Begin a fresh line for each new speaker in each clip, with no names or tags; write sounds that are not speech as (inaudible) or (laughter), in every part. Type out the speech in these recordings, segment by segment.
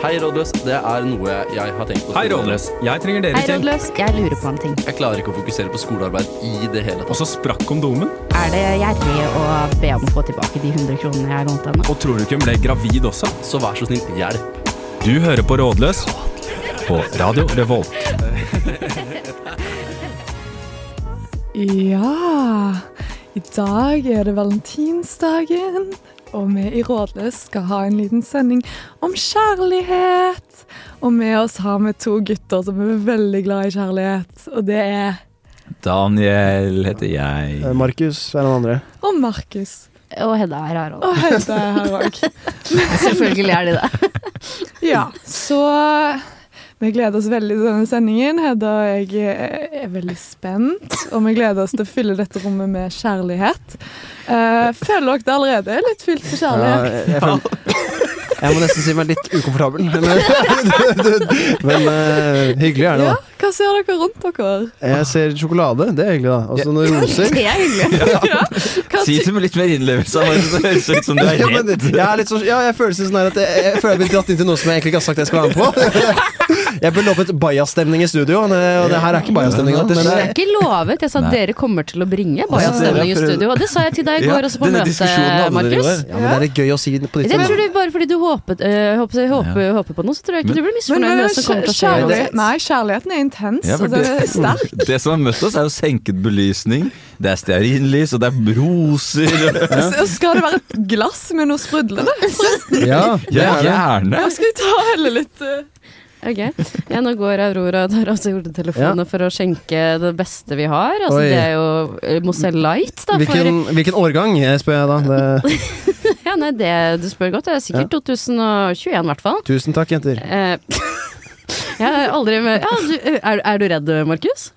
Hei, rådløs. Det er noe jeg har tenkt på.
Hei, Rådløs. Jeg trenger dere
Hei,
til.
rådløs. Jeg lurer på en ting.
Jeg klarer ikke å fokusere på skolearbeid i det hele
Og
tatt.
så sprakk kondomen.
Er det gjerrig å be om å få tilbake de 100 kronene jeg lånte henne?
Og tror du ikke hun ble gravid også?
Så vær så snill,
(laughs)
hjelp.
Du hører på Rådløs på Radio Revolt.
Ja, i dag er det valentinsdagen, og vi i Rådløs skal ha en liten sending om kjærlighet. Og med oss har vi to gutter som er veldig glad i kjærlighet, og det er
Daniel heter jeg.
Eh, Markus er den andre.
og Markus.
Og Hedda er altså. her òg.
Og Hedda er her òg.
Selvfølgelig er de (laughs) det.
Ja, så vi gleder oss veldig til denne sendingen. Hedda og jeg er veldig spent, og vi gleder oss til å fylle dette rommet med kjærlighet. Eh, føler dere det allerede er litt fylt med
Ja,
kjærlighet?
jeg, jeg, føler- jeg må nesten si meg litt ukomfortabel, men, men eh, hyggelig er det, da.
Ja, hva ser dere rundt dere?
Jeg ser sjokolade, det er hyggelig, da. Og så noen roser.
Det er hyggelig.
Hva
Si det med litt mer innlevelse. Markus. Det høres ut som du er
Ja, men,
redd.
jeg, er litt sånn, ja, jeg føler sånn her at jeg, jeg føler jeg blir dratt inn til noe som jeg egentlig ikke har sagt jeg skal være med på. (laughs) Jeg ble lovet bajastemning i studio, og det og det her er ikke bajastemning. da, men
Det
det
er ikke lovet. Jeg sa
Nei.
dere kommer til å bringe
Altså,
bajastemning i studio. Og det sa jeg til deg i
Ja,
går også på
denne
møtet,
diskusjonen hadde dere i
Markus.
går.
ja, men det er litt gøy å si på nytt.
Jeg
da.
tror du bare fordi du håpet, øh, håper, håper, håper på noe, så tror jeg ikke du blir misfornøyd med det som kommer til å skje.
kjærlighet,
uansett.
nei, kjærligheten er intens,
Ja,
og
for
den
det-
er
(laughs)
sterk.
Det som har møtt oss, er jo senket belysning, det er stearinlys, og det er roser.
Og skal det være et glass med noe (laughs) sprudlende?
Ja, det er
Ja,
det.
gjerne.
Jeg skal vi ta og helle litt eh,
Ok. Ja, nå går Aurora og tar også jordetelefonene for å skjenke det beste vi har. Altså,
Oi.
det er jo eh, Moselle Light, da. For,
Hvilken, hvilken årgang, eh, spør jeg da. Det,
(laughs) ja, nei, det du spør godt. Det er sikkert 2021, i hvert fall.
tusen takk, jenter.
Eh, (laughs) jeg har aldri med ja, du, er, er du redd, Markus?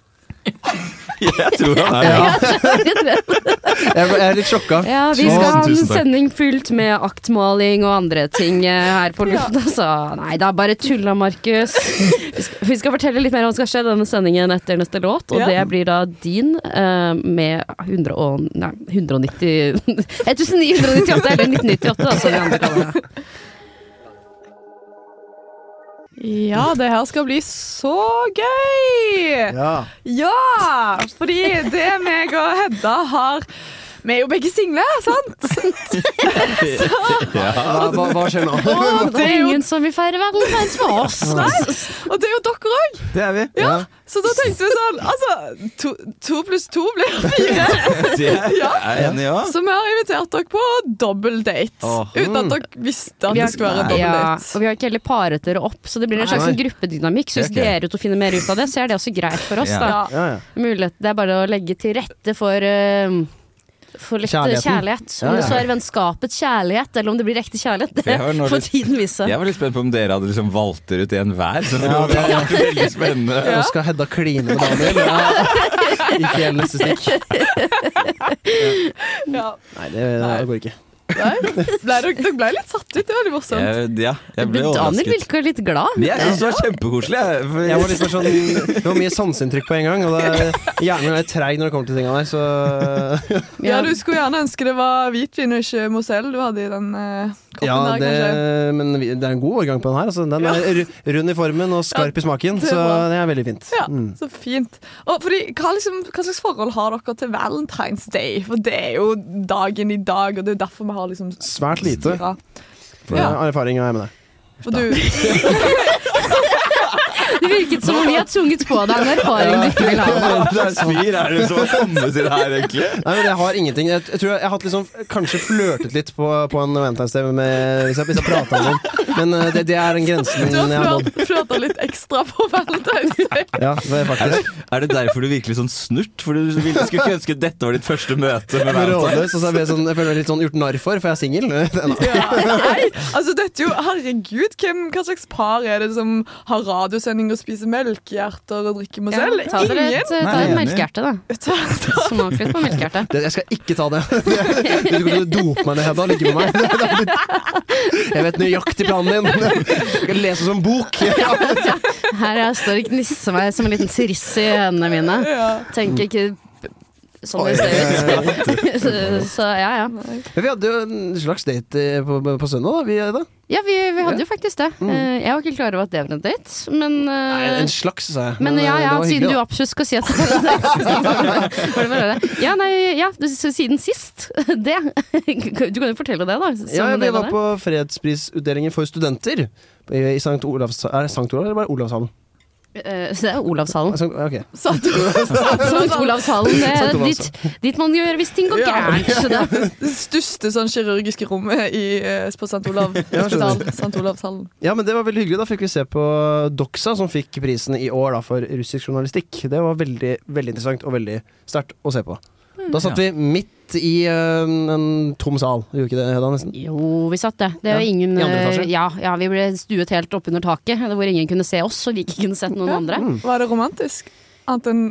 (laughs) Jeg tror han er
(laughs)
det.
Jeg, jeg er litt sjokka.
Ja, vi
Tusen-
skal ha en
tusen takk.
sending fylt med aktmaling og andre ting eh, her
(laughs)
på lufta, så nei, det er bare tulla, Markus. Vi skal, vi skal fortelle litt mer om hva som skal skje i denne sendingen etter neste låt, og
Ja.
det blir da din eh, med 100 og, nei, (laughs) 190 1998, eller 1998, da, som vi andre kaller det.
Ja, det her skal bli så gøy!
Ja.
Ja! Fordi det meg og Hedda har Vi er jo begge single, sant?
Hva, hva, hva skjer nå?
Og
Det
det
er
er jo,
ingen som vil feire valentines med
(laughs)
oss.
og det er jo dere òg!
Det er vi.
Ja. Så da tenkte vi sånn Altså, to, to pluss to
(laughs)
blir fire.
Det er jeg enig i, ja.
Så vi har invitert dere på dobbeldate.
Åh.
Uten at dere visste at
Vi
det
har-
skulle være
Nei. Ja,
dobbeldate.
og vi har ikke heller paret dere opp, så det blir en slags
Nei.
gruppedynamikk. Så hvis
Ok.
dere to finner mer ut av det, så er det også greit for oss,
Ja.
da.
Ja.
Ja, ja.
mulighet. Det er bare å legge til rette for eh, for litt
Kjærligheten.
kjærlighet. Om
Ja, ja.
det så er vennskapets kjærlighet, eller om det blir ekte kjærlighet, det
Jeg har nå
får
lyst-
tiden vise.
Jeg var litt spent på om dere hadde liksom valgt dere ut en hver. Så det
Ja, det-
var veldig spennende.
Nå skal Hedda kline med Daniel. Ja. Ikke helt neste stikk.
Ja.
Nei, det, det går ikke.
Nei, ble, dere, dere ble litt satt ut, det var litt morsomt.
Jeg, ja, jeg ble
Men Daniel
overrasket.
virker litt glad.
Men Jeg synes det var kjempekoselig. jeg, for-
Jeg var litt mer sånn, det var mye sanseinntrykk på en gang. Og det, hjernen min er treig når det kommer til tinga der, så
Ja, Du skulle gjerne ønske det var hvitvin og ikke Moselle du hadde i den eh, koppen
Ja,
der,
det,
kanskje.
men vi- det er en god årgang på den her. Altså. Den er ru- rund i formen og skarp i smaken,
det er
så
bra.
det er veldig fint.
Ja,
Mm.
så fint. Og fordi, hva, liksom, hva slags forhold har dere til Valentine's Day? For det er jo dagen i dag, og det er jo derfor vi har liksom
Svært lite.
styra.
For
Ja.
ja. erfaring har jeg med det.
For du
Det virket som om vi har tvunget på deg en erfaring du ikke vil ha.
Det er spir, er det som har kommet til her, egentlig?
Nei, men Jeg har ingenting. Jeg, jeg tror jeg, jeg har hatt liksom, kanskje flørtet litt på, på en Valentine's-TV med- hvis jeg, hvis jeg pratet om noen, men eh, det, det er den grensen
du
jeg har nådd.
har flørta litt ekstra på Valentine's
(laughs)
Day.
Ja, det er faktisk.
Er det derfor du virker litt sånn snurt? For du ville- skulle ikke ønske dette var ditt første møte (laughs) med
med
Valentine.
rådløs, og så ble jeg, sånn, jeg føler meg litt sånn gjort narr for, for jeg er singel. (laughs) Nei,
Ja. Nei, altså dette er jo Herregud, hvem, hva slags par er det som har radiosending og spiser melkehjerter og drikker
Ja,
Moselle?
ta dere et,
Ingen!
ta
Nei,
et
enig.
melkehjerte, da.
Ta-
Smak litt
(laughs)
på melkehjertet.
det, jeg skal ikke ta det. Du kommer til å dope meg ned, Hedda, og ligge med meg. (laughs) Det er litt- Jeg vet nøyaktig planen din. (laughs) Jeg skal lese som bok.
Her jeg står og gnisser meg som en liten triss i øynene mine.
Ja.
Tenker ikke sånn det ser
(laughs)
ut. Så ja, ja.
Men vi hadde jo en slags date eh, på, på søndag, da. Vi, da.
Ja, vi, vi hadde jo faktisk det. Eh, Jeg var ikke klar over at det var en date, men eh,
Mm. Nei, en slags, sa jeg.
men
eh,
ja, ja,
det var
siden du
hyggelig, da.
absolutt skal si at det var en
(laughs)
date. Var det bare det? Ja, nei, ja, du- så siden sist. (laughs) Det. Du kan jo fortelle det, da. som
Ja, ja,
en
vi
del av
var
det.
på fredsprisutdelingen for studenter i i Sankt Olavs... Er det Sankt Olav eller bare Olavshallen?
Eh, Så det er
(laughs)
Olavshallen.
Sankt, ok.
Så du
Sankt Olavshallen. Det er
Sankt Olavs-
dit, dit man gjør hvis ting går
Ja.
gærent. Så det
(laughs)
er
det største sånn kirurgiske rommet i, eh, på St. Olav
Ja, skjønner.
hospital. St. Olavshallen.
Ja, men det var veldig hyggelig. Da fikk vi se på Doxa, som fikk prisen i år da, for russisk journalistikk. Det var veldig, veldig interessant og veldig sterkt å se på. Da satt vi midt i eh, en tom sal. Gjorde ikke det, Hedda? nesten?
Jo, vi satt det. Det var
Ja,
ingen
i andre etasje.
eh, ja, ja, vi ble stuet helt oppunder taket, hvor ingen kunne se oss, og vi ikke kunne sett noen
Ja.
andre.
Var det romantisk? Annet enn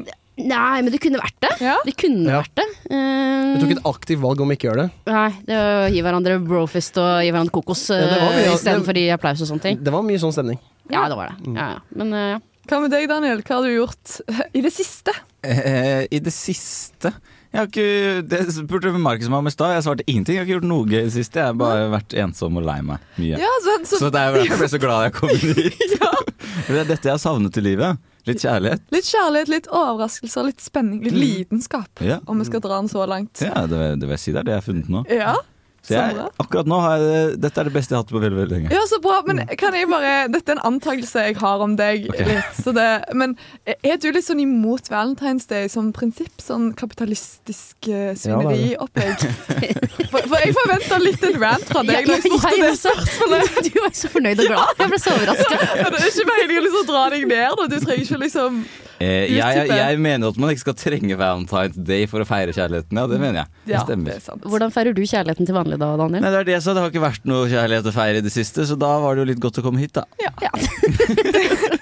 Nei, men det kunne vært det.
Ja?
Det kunne
Ja.
vært det. Eh,
Vi tok et aktivt valg om ikke å gjøre det.
Nei, det var å gi hverandre brofist og gi hverandre kokos
Ja, det var mye,
eh,
ja.
istedenfor de applaus og sånne ting.
Det var mye sånn stemning.
Ja, det var
Mm.
det. Ja, ja. Men eh, ja.
Hva med deg, Daniel? Hva har du gjort i det siste?
Eh, I det siste jeg har ikke, Det spurte Markus meg om i stad. Jeg svarte ingenting. Jeg har ikke gjort noe i det siste. Jeg har bare vært ensom og lei meg mye.
Ja, så,
Så
så,
det er jo derfor jeg ble så glad jeg kom hit.
(laughs) ja.
For det er dette jeg har savnet i livet. Litt kjærlighet.
Litt kjærlighet, litt overraskelser, litt spenning, litt lidenskap.
Ja,
Om vi skal dra den så langt.
ja det, vil- det vil jeg si. Det er det jeg har funnet nå.
Ja,
Så
så
jeg,
bra.
akkurat nå har jeg Dette er det beste jeg har hatt på veldig, veldig lenge.
Ja, så bra, men kan jeg bare Dette er en antakelse jeg har om deg
Mm. Ok.
litt. Så det, men er du litt sånn imot Valentine's Day som prinsipp? Sånn kapitalistisk eh, svineriopplegg? For, for jeg forventa litt en rant fra deg. da jeg spurte det
også. altså. (laughs) Du var så fornøyd og glad. Jeg ble så
(laughs)
overraska.
Ja, Det er ikke meningen å liksom dra deg ned. Da. Du trenger ikke liksom
Eh, jeg,
Utdype.
jeg mener at man ikke skal trenge Valentine's Day for å feire kjærligheten. Ja, det mener jeg.
Mm.
Det
Ja, det
stemmer.
er sant.
Hvordan feirer du kjærligheten til vanlig da, Daniel?
Nei, det er det jeg sa. Det har ikke vært noe kjærlighet å feire i det siste, så da var det jo litt godt å komme hit, da.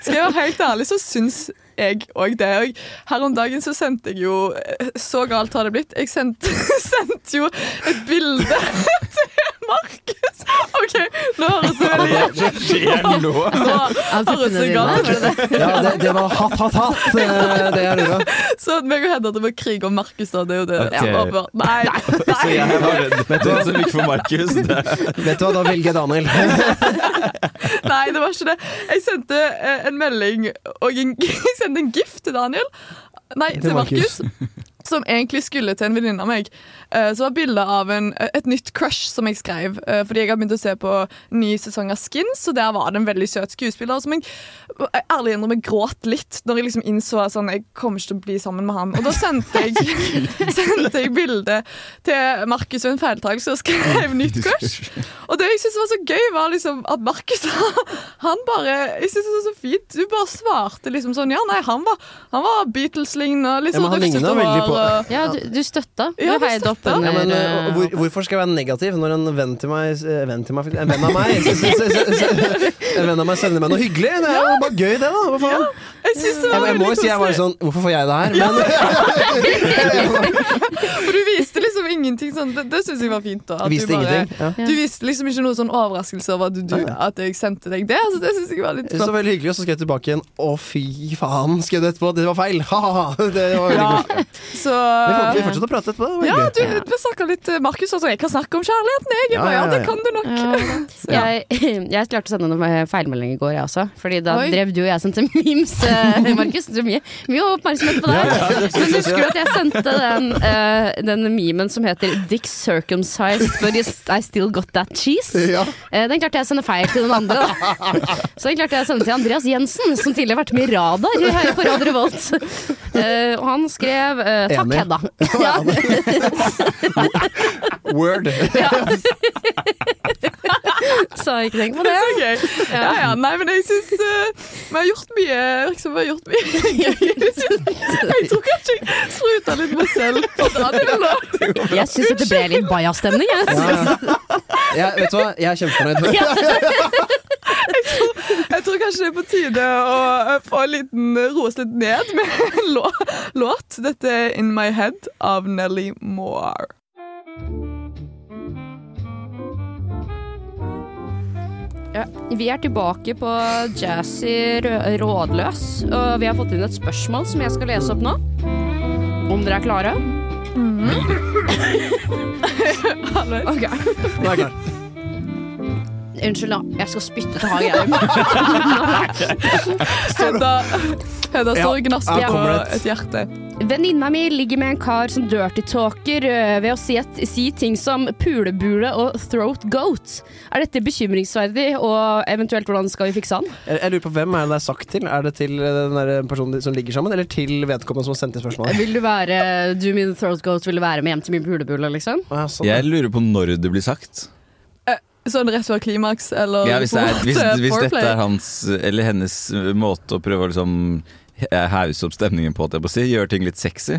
Skal jeg være helt ærlig, så syns jeg òg det. Og her om dagen så sendte jeg jo eh, Så galt har det blitt. Jeg sendte, (laughs) sendte jo et bilde (laughs) til Markus. OK, nå høres det veldig
Det skjer nå!
nå høres det galt ut.
(laughs) Ja, det, det var hatt, hatt, hatt. eh, Det er lura.
Så at meg og Hedda driver og kriger om Markus, da. Det er jo det.
Ok.
Ja, bare- nei,
Så
nei.
jeg var redd for det som gikk for
(laughs)
Markus. Det-
Vet du hva, da velger jeg Daniel. (laughs)
Nei, det var ikke det. Jeg sendte eh, en melding og en, (laughs) jeg sendte en gift til Daniel. Nei, til Markus. Som egentlig skulle til en venninne av meg. Eh, Så var bildet av en, eh, et nytt crush som jeg skrev. eh, Fordi jeg har begynt å se på ny sesong av Skins, og der var det en veldig søt skuespiller som jeg, jeg ærlig innrømmer jeg gråt litt når jeg liksom innså at sånn, jeg kommer ikke til å bli sammen med han. Og da sendte jeg, (laughs) sendte jeg bildet til Markus ved en feiltagelse og skrev 'nytt crush'. Og det jeg synes var så gøy, var liksom at Markus (laughs) Han bare Jeg synes det var så fint. Du bare svarte liksom sånn Ja, nei, han var, han var Beatles-lignende. Litt
Ja, men
sånn
han
røftete
ligner veldig på-
hår, og-
Ja, du, du støtta. Du
Ja, vi
heide opp
støtta.
Ja,
under
men, eh,
eh,
hvor, hvorfor skal jeg være negativ når en venn til meg eh, venn til meg, faktisk, En venn av meg s- s- s- s- En venn av meg sender meg noe hyggelig? Det er jo bare gøy, det, da. Hva faen?
Jeg synes det
Jeg,
var
jeg må
veldig
jo si jeg var
koselig.
sånn Hvorfor får jeg det her? (laughs) Men
For du viste liksom ingenting sånn. Det, det synes jeg var fint. da at
sånn-
du
jeg viste
bare-
ingenting. Ja.
Du viste liksom ikke noe sånn overraskelse over at, du, at jeg sendte deg det. Altså, det synes jeg var litt
Så
flott.
veldig hyggelig, og så skrev jeg tilbake igjen Å, fy faen, skrev du etterpå. Det var feil. (laughs) Ha-ha. Det var veldig
Ja,
koselig.
så
Vi får- Vi fortsetter å prate etterpå. Det var
ja,
hyggelig.
du, vi snakka litt eh, Markus og sånn. Jeg kan snakke om kjærligheten, jeg. Jeg
Ja,
bare, ja,
ja,
det
ja.
kan du nok.
Ja. Jeg, (clears throat) jeg klarte å sende en feilmelding i går, jeg også. Fordi da
Oi.
drev du og jeg sendte (laughs) memes, eh, Markus. Det er mye, mye oppmerksomhet på deg. Men husker du at jeg sendte den, eh, den memen som heter 'Dick circumcised, but is- I still got that cheese'?
Ja.
Eh, Den klarte jeg å sende feil til den andre. Da. Så den klarte jeg å sende til Andreas Jensen, som tidligere har vært med i Radar her på Radio Revolt. Eh, Og han skrev eh, 'Takk,
Enig.
Hedda'. (laughs) Ja,
Word. (laughs)
så ikke tenk på
Det
det.
er så gøy. Ja, ja, nei, men jeg syns vi har gjort mye liksom, Vi har gjort mye gøy. (laughs) Jeg synes- Jeg tror kanskje jeg spruta litt meg selv på Daniel nå.
Jeg syns det ble litt bajastemning, jeg.
Ja, ja. Jeg, vet du hva, jeg er kjempefornøyd.
Jeg tror kanskje det er på tide å eh, få en liten roe oss litt ned med en lå- låt. Dette er 'In My Head' av Nelly Moore.
Ja, vi er tilbake på Jazzy Rø- Rådløs, og vi har fått inn et spørsmål som jeg skal lese opp nå. Om dere er klare?
Mm.
(laughs) Ok.
Nå er jeg klar.
Unnskyld, da. Jeg skal spytte til
(laughs)
Hageim.
Hedda, Hedda står og gnasker
her
på
kommer det.
et hjerte.
Venninna mi ligger med en kar som dirty talker øh, ved å si, et, si ting som pulebule og throat goat. Er dette bekymringsverdig, og eventuelt hvordan skal vi fikse han?
Jeg, jeg lurer på Hvem er det det er sagt til? Er det til eh, den der personen som ligger sammen, eller til vedkommende som har sendt inn spørsmålet?
Vil du være du min throat goat, vil du være med hjem til min pulebule, liksom?
Ah, sånn.
Jeg lurer på når det blir sagt.
Sånn rett før klimaks eller
Ja, hvis, det er,
mot, (laughs)
hvis,
eh,
hvis dette
foreplay.
er hans eller hennes eh, måte å prøve å liksom he- hause opp stemningen på, holdt jeg på å si, gjøre ting litt sexy,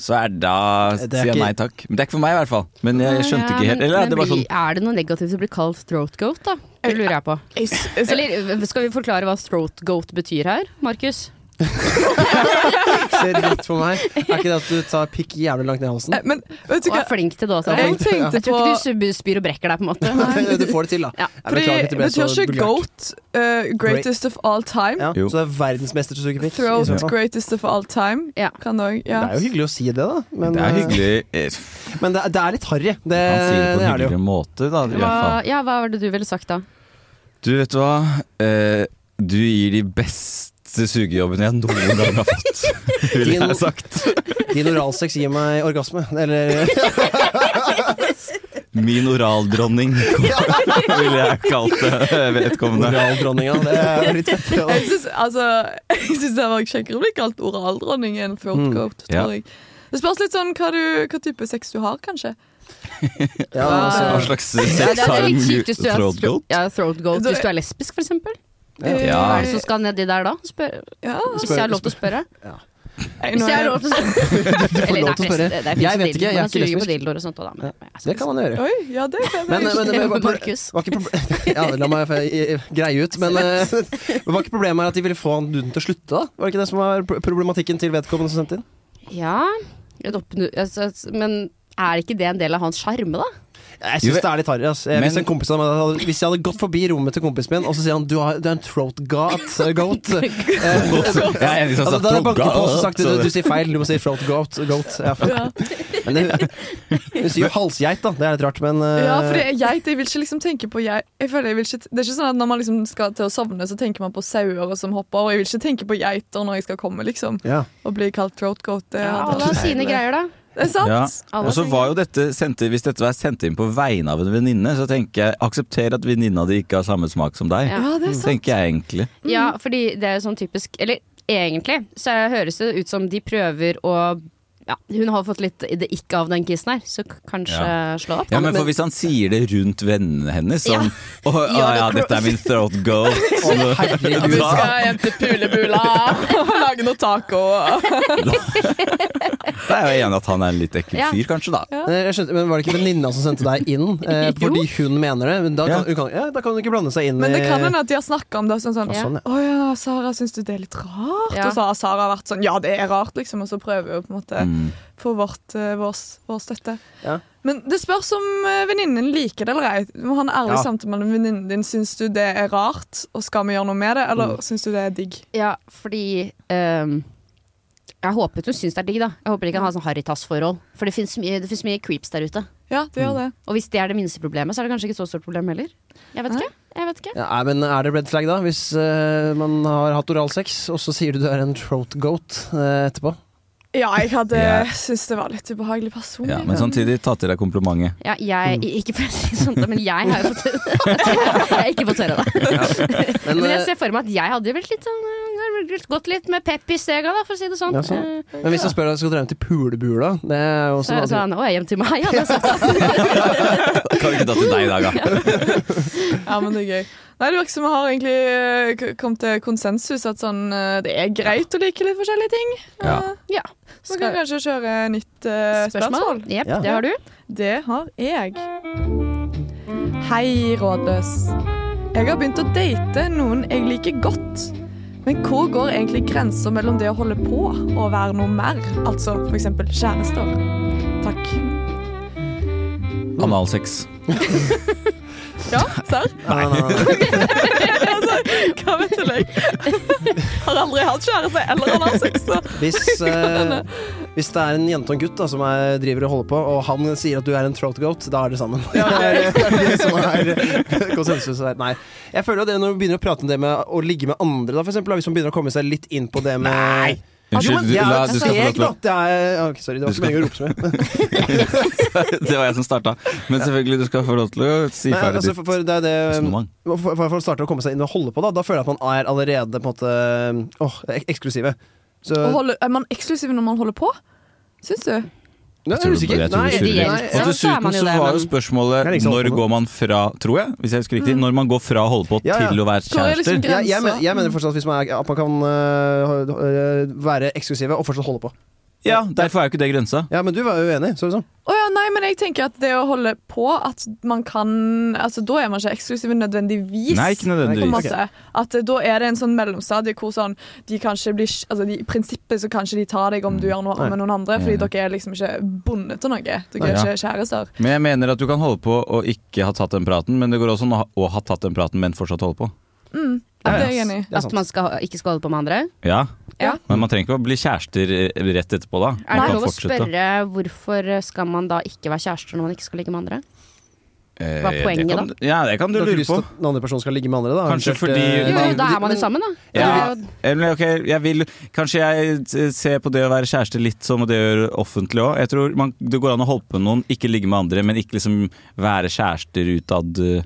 så er da
Det er
sier jeg
ikke-
nei takk. Men det er ikke for meg, i hvert fall. Men jeg, jeg skjønte ikke helt. Eller
men,
det var sånn
blir- Er det noe negativt å bli kalt throat goat, da? Det lurer jeg på.
Jeg s- jeg s-
Eller øh, skal vi forklare hva throat goat betyr her, Markus?
Ser rett på meg. Er ikke det at du tar pikk jævlig langt ned i halsen?
Eh, Men vet du
Og
hva?
er flink til det også.
Jeg
Jeg
tenkte
tror
på
ikke du sub- spyr og brekker deg, på en måte.
du får det til, da.
Ja.
Jeg
Fordi
beklager at det ble så
betyr ikke
vulgært.
goat eh, greatest of all time?
Ja,
Jo.
så det er verdensmester til å suge pikk? i
Throat
så fall.
greatest of all time?
Ja.
Kan det òg.
Det
Ja.
er jo hyggelig å si det, da. Men
Det er
eh,
hyggelig. Eh,
men det, er- det er litt harry. Det, det
Han sier det
er det
på en
jo.
hyggeligere måte, da. I
Hva,
hvert fall.
ja, hva var det du ville sagt da?
Du vet du hva? Eh, du gir de beste sugejobbene jeg noen gang har fått, ville jeg sagt.
(laughs) Din oralsex gir meg orgasme.
(laughs)
Eller
Min oraldronning, (laughs) ville jeg kalt det vedkommende.
oraldronninga. Det er litt fett. det, da.
Jeg syns altså, (laughs) jeg synes det var kjekkere å bli kalt oraldronning enn throat
Mm.
goat,
Ja.
tror jeg. Det spørs litt sånn hva, du, hva type sex du har, kanskje.
Ja,
Hva
altså,
slags sex
det
har
er
en
litt kjipt hvis du er
throat goat?
Ja, throat goat
Da-
hvis du er lesbisk, for eksempel.
Eh,
Ja.
Ja.
Hva er det som skal nedi der da? Spør,
Ja.
hvis
Spør-
jeg har lov til å spørre?
Nei,
Hvis
nå
jeg har
er-
lov til å
(laughs)
spørre.
lov til å
Eller, nei,
spørre.
forresten, det- det
Jeg
finnes
vet ikke, jeg er
dildoer. Man
ikke
suger på
lesbisk.
dildoer og sånt også, da, men jeg skal
det kan man gjøre.
Oi, ja, det kan
Men, men, men, men
Markus.
var ikke proble- (laughs) ja, la meg få- eh, greie ut. Men eh, (laughs) men var ikke problemet her at de ville få han duden til å slutte? da? Var det ikke det som var pro- problematikken til vedkommende som sendte inn?
ikke- (laughs) Ja, et oppnu- altså, men er ikke det en del av hans sjarme, da?
Jeg
Jo,
syns
jeg-
det er litt harry. ass. Jeg- Hvis,
Men-
en kompis av meg hadde- hvis jeg hadde gått forbi rommet til kompisen min, og så sier han du, har, du er en throat goat,
(laughs)
goat. Eh,
Jeg er enig i
Da da
sånn
hadde jeg banket på og så sagt du,
så
du
det-
sier feil, du må si throat goat. goat. Ja, faen.
Ja.
Men det, hun sier jo halsgeit, da. Det er litt rart, men eh,
Ja, for det er geit. Jeg vil ikke liksom tenke på geit. Jeg føler jeg vil ikke, det er ikke sånn at når man liksom skal til å sovne, så tenker man på sauer som hopper. Og jeg vil ikke tenke på geiter når jeg skal komme, liksom.
ja.
Og bli kalt throat goat. Det,
Ja,
hadde
alle har
vært-
sine greier, da.
det er sant.
Ja.
Alle
Og så
sine
var jo dette sendt, Hvis dette var sendt inn på vegne av en venninne, så tenker jeg aksepter at venninna di ikke har samme smak som deg.
Ja.
Ja, det er sant.
Tenker jeg egentlig.
Ja, fordi det er jo sånn typisk Eller egentlig så høres det ut som de prøver å ja, Hun har fått litt det ikke av den kissen her, så k- kanskje slå opp.
Ja, men for Hvis han sier det rundt vennene hennes sånn Å å
Ja,
ja,
det-
dette er min throat goat.
Du
Herregud.
skal hjem til Pulebula og lage noe taco.
(laughs) Da er jeg enig at han er en litt ekkel
Ja.
fyr, kanskje, da.
Eh, Jeg skjønte, men Var det ikke venninna som sendte deg
(laughs)
inn eh, fordi hun mener det? Men da kan,
Ja.
hun kan, ja, da kan hun ikke blande seg inn
Men det
i-
kan hende at de har snakka om det sånn sånn
Ja,
Å
sånn, ja.
ja, Sara, syns du det er litt rart?
Ja.
Og så har Sara vært sånn Ja, det er rart, liksom. Og så prøver hun på en måte
Mm.
få vårt, eh, vår, s- vår støtte.
Ja.
Men det spørs om eh, venninnen liker det eller ei. Du må ha en ærlig
Ja.
samtale med venninnen din. Syns du det er rart, og skal vi gjøre noe med det, eller syns du det er digg?
Ja, fordi ehm, Jeg håpet hun syns det er digg, da. Jeg håper ikke han har sånn harrytass-forhold. For det fins mye, det finnes mye creeps der ute.
Ja, det gjør det.
Og hvis det er det minste problemet, så er det kanskje ikke så stort problem heller. Jeg vet ikke. Jeg vet ikke.
Ja, nei, men Er det red flag, da? Hvis eh, man har hatt oralsex, og så sier du du er en throat goat eh, etterpå?
Ja, jeg hadde
Ja.
syntes det var litt ubehagelig personlig.
Ja, men samtidig, ta til deg komplimentet.
Ja, jeg,
Mm.
ikke for å si sånt, men jeg har jo fått (laughs) Jeg har ikke fått høre det. (laughs)
Men,
Men jeg
eh,
ser for meg at jeg hadde vært litt sånn eh, Gått litt med pep i stega, da, for å si det sånn.
Ja, sånn.
Eh,
men hvis jeg spør deg skal du dra hjem til Pulebula Det er jo også
Så
en
så
annen ting.
han å, jeg er hjem til meg, ja, det er sant.
(laughs)
Kan vi ikke ta til deg i dag, da?
(laughs) Ja, men det er gøy. Nei, det virker som vi har egentlig eh, k- kommet til konsensus at sånn eh, Det er greit å like litt forskjellige ting.
Ja.
Eh,
Ja.
Så kan vi kanskje kjøre nytt eh, spørsmål.
Spørsmål? Jepp,
Ja.
det har du.
Det har jeg. Hei, rådløs. Jeg har begynt å date noen jeg liker godt. Men hvor går egentlig grensa mellom det å holde på og være noe mer? Altså f.eks. kjærester. Takk.
Analsex.
(laughs) Ja, serr?
Nei, nei, nei, nei.
Altså, hva vet (laughs) jeg? Har aldri hatt kjæreste eller analsex. så-
Hvis, eh, Hvis det er en jente og en gutt da, som er, driver og holder på, og han sier at du er en throat goat, da er det sammen. (laughs) det er det som er konsensus her. Nei. Jeg føler jo det når du begynner å prate om det med å ligge med andre, da, for eksempel, da, hvis man begynner å komme seg litt inn på det med Nei! Jo, men
Unnskyld, du,
det er
la,
jo et
du skal få lov
steg, da.
til å
Det er, ok, sorry, det var
Du
ikke
skal-
meningen å rope så
(laughs)
mye.
Det var jeg som starta. Men selvfølgelig, du skal få lov til å si
Nei,
ferdig
altså,
ditt
for, for det er det
resonnement.
for, for, for å starte å komme seg inn og holde på, da, da føler jeg at man er allerede på en måte åh, ek eksklusive. Så
Og holde, er man eksklusiv når man holder på? Syns du?
Nei,
Jeg tror
jeg er
du-
usikker.
jeg tror du
Nei,
surrer
nei,
litt.
ja.
Og
så er
dessuten
man jo
så
det,
var jo
men-
spørsmålet
Jeg er ikke så
når
opptatt av-
går man fra, tror jeg, hvis jeg husker riktig,
Mm.
når man går fra å holde på
Ja, ja.
til å være
Hvor er liksom
kjærester.
jeg, jeg, mener, jeg mener fortsatt at, hvis man er, at man kan øh, øh, være eksklusive og fortsatt holde på.
Ja, derfor er jo ikke det grensa.
Ja, men du var jo uenig. Så det sånn.
Å ja, nei, men jeg tenker at det å holde på at man kan Altså, da er man ikke eksklusiv nødvendigvis.
Nei, ikke
På en
nødvendigvis.
måte. At eh, da er det en sånn mellomstadie hvor sånn de kanskje blir Altså, de, i prinsippet så kanskje de tar deg om du gjør noe
Nei.
med noen andre, fordi
Ja.
dere er liksom ikke bundet til noe. Dere
Nei,
er
ja.
ikke kjærester.
Men jeg mener at du kan holde på og ikke ha tatt den praten, men det går også an å ha- å ha tatt den praten, men fortsatt holde på.
Ja,
Ja,
Mm. Det
ja.
er jeg enig i.
Det er
At
sant.
man skal, ikke skal holde på med andre.
Ja,
Ja.
men man trenger ikke å bli kjærester eh, rett etterpå,
Er
da. Man
det
kan
lov å
fortsette.
spørre hvorfor skal man da ikke være kjærester når man ikke skal ligge med andre?
Eh,
Hva er poenget
det kan, da? Ja, det kan
Du
du
har ikke
lure
lyst
på.
til at den andre personen skal ligge med andre, da?
Kanskje
Eventuelt,
fordi-
øh,
Jo,
men-
da er man
men-
jo sammen, da. Det
Ja.
er jo-
Eller, ok, jeg vil, kanskje jeg eh, ser på det å være kjæreste litt som det å gjøre offentlig òg. Jeg tror man, det går an å holde på med noen, ikke ligge med andre, men ikke liksom være kjærester utad. eh,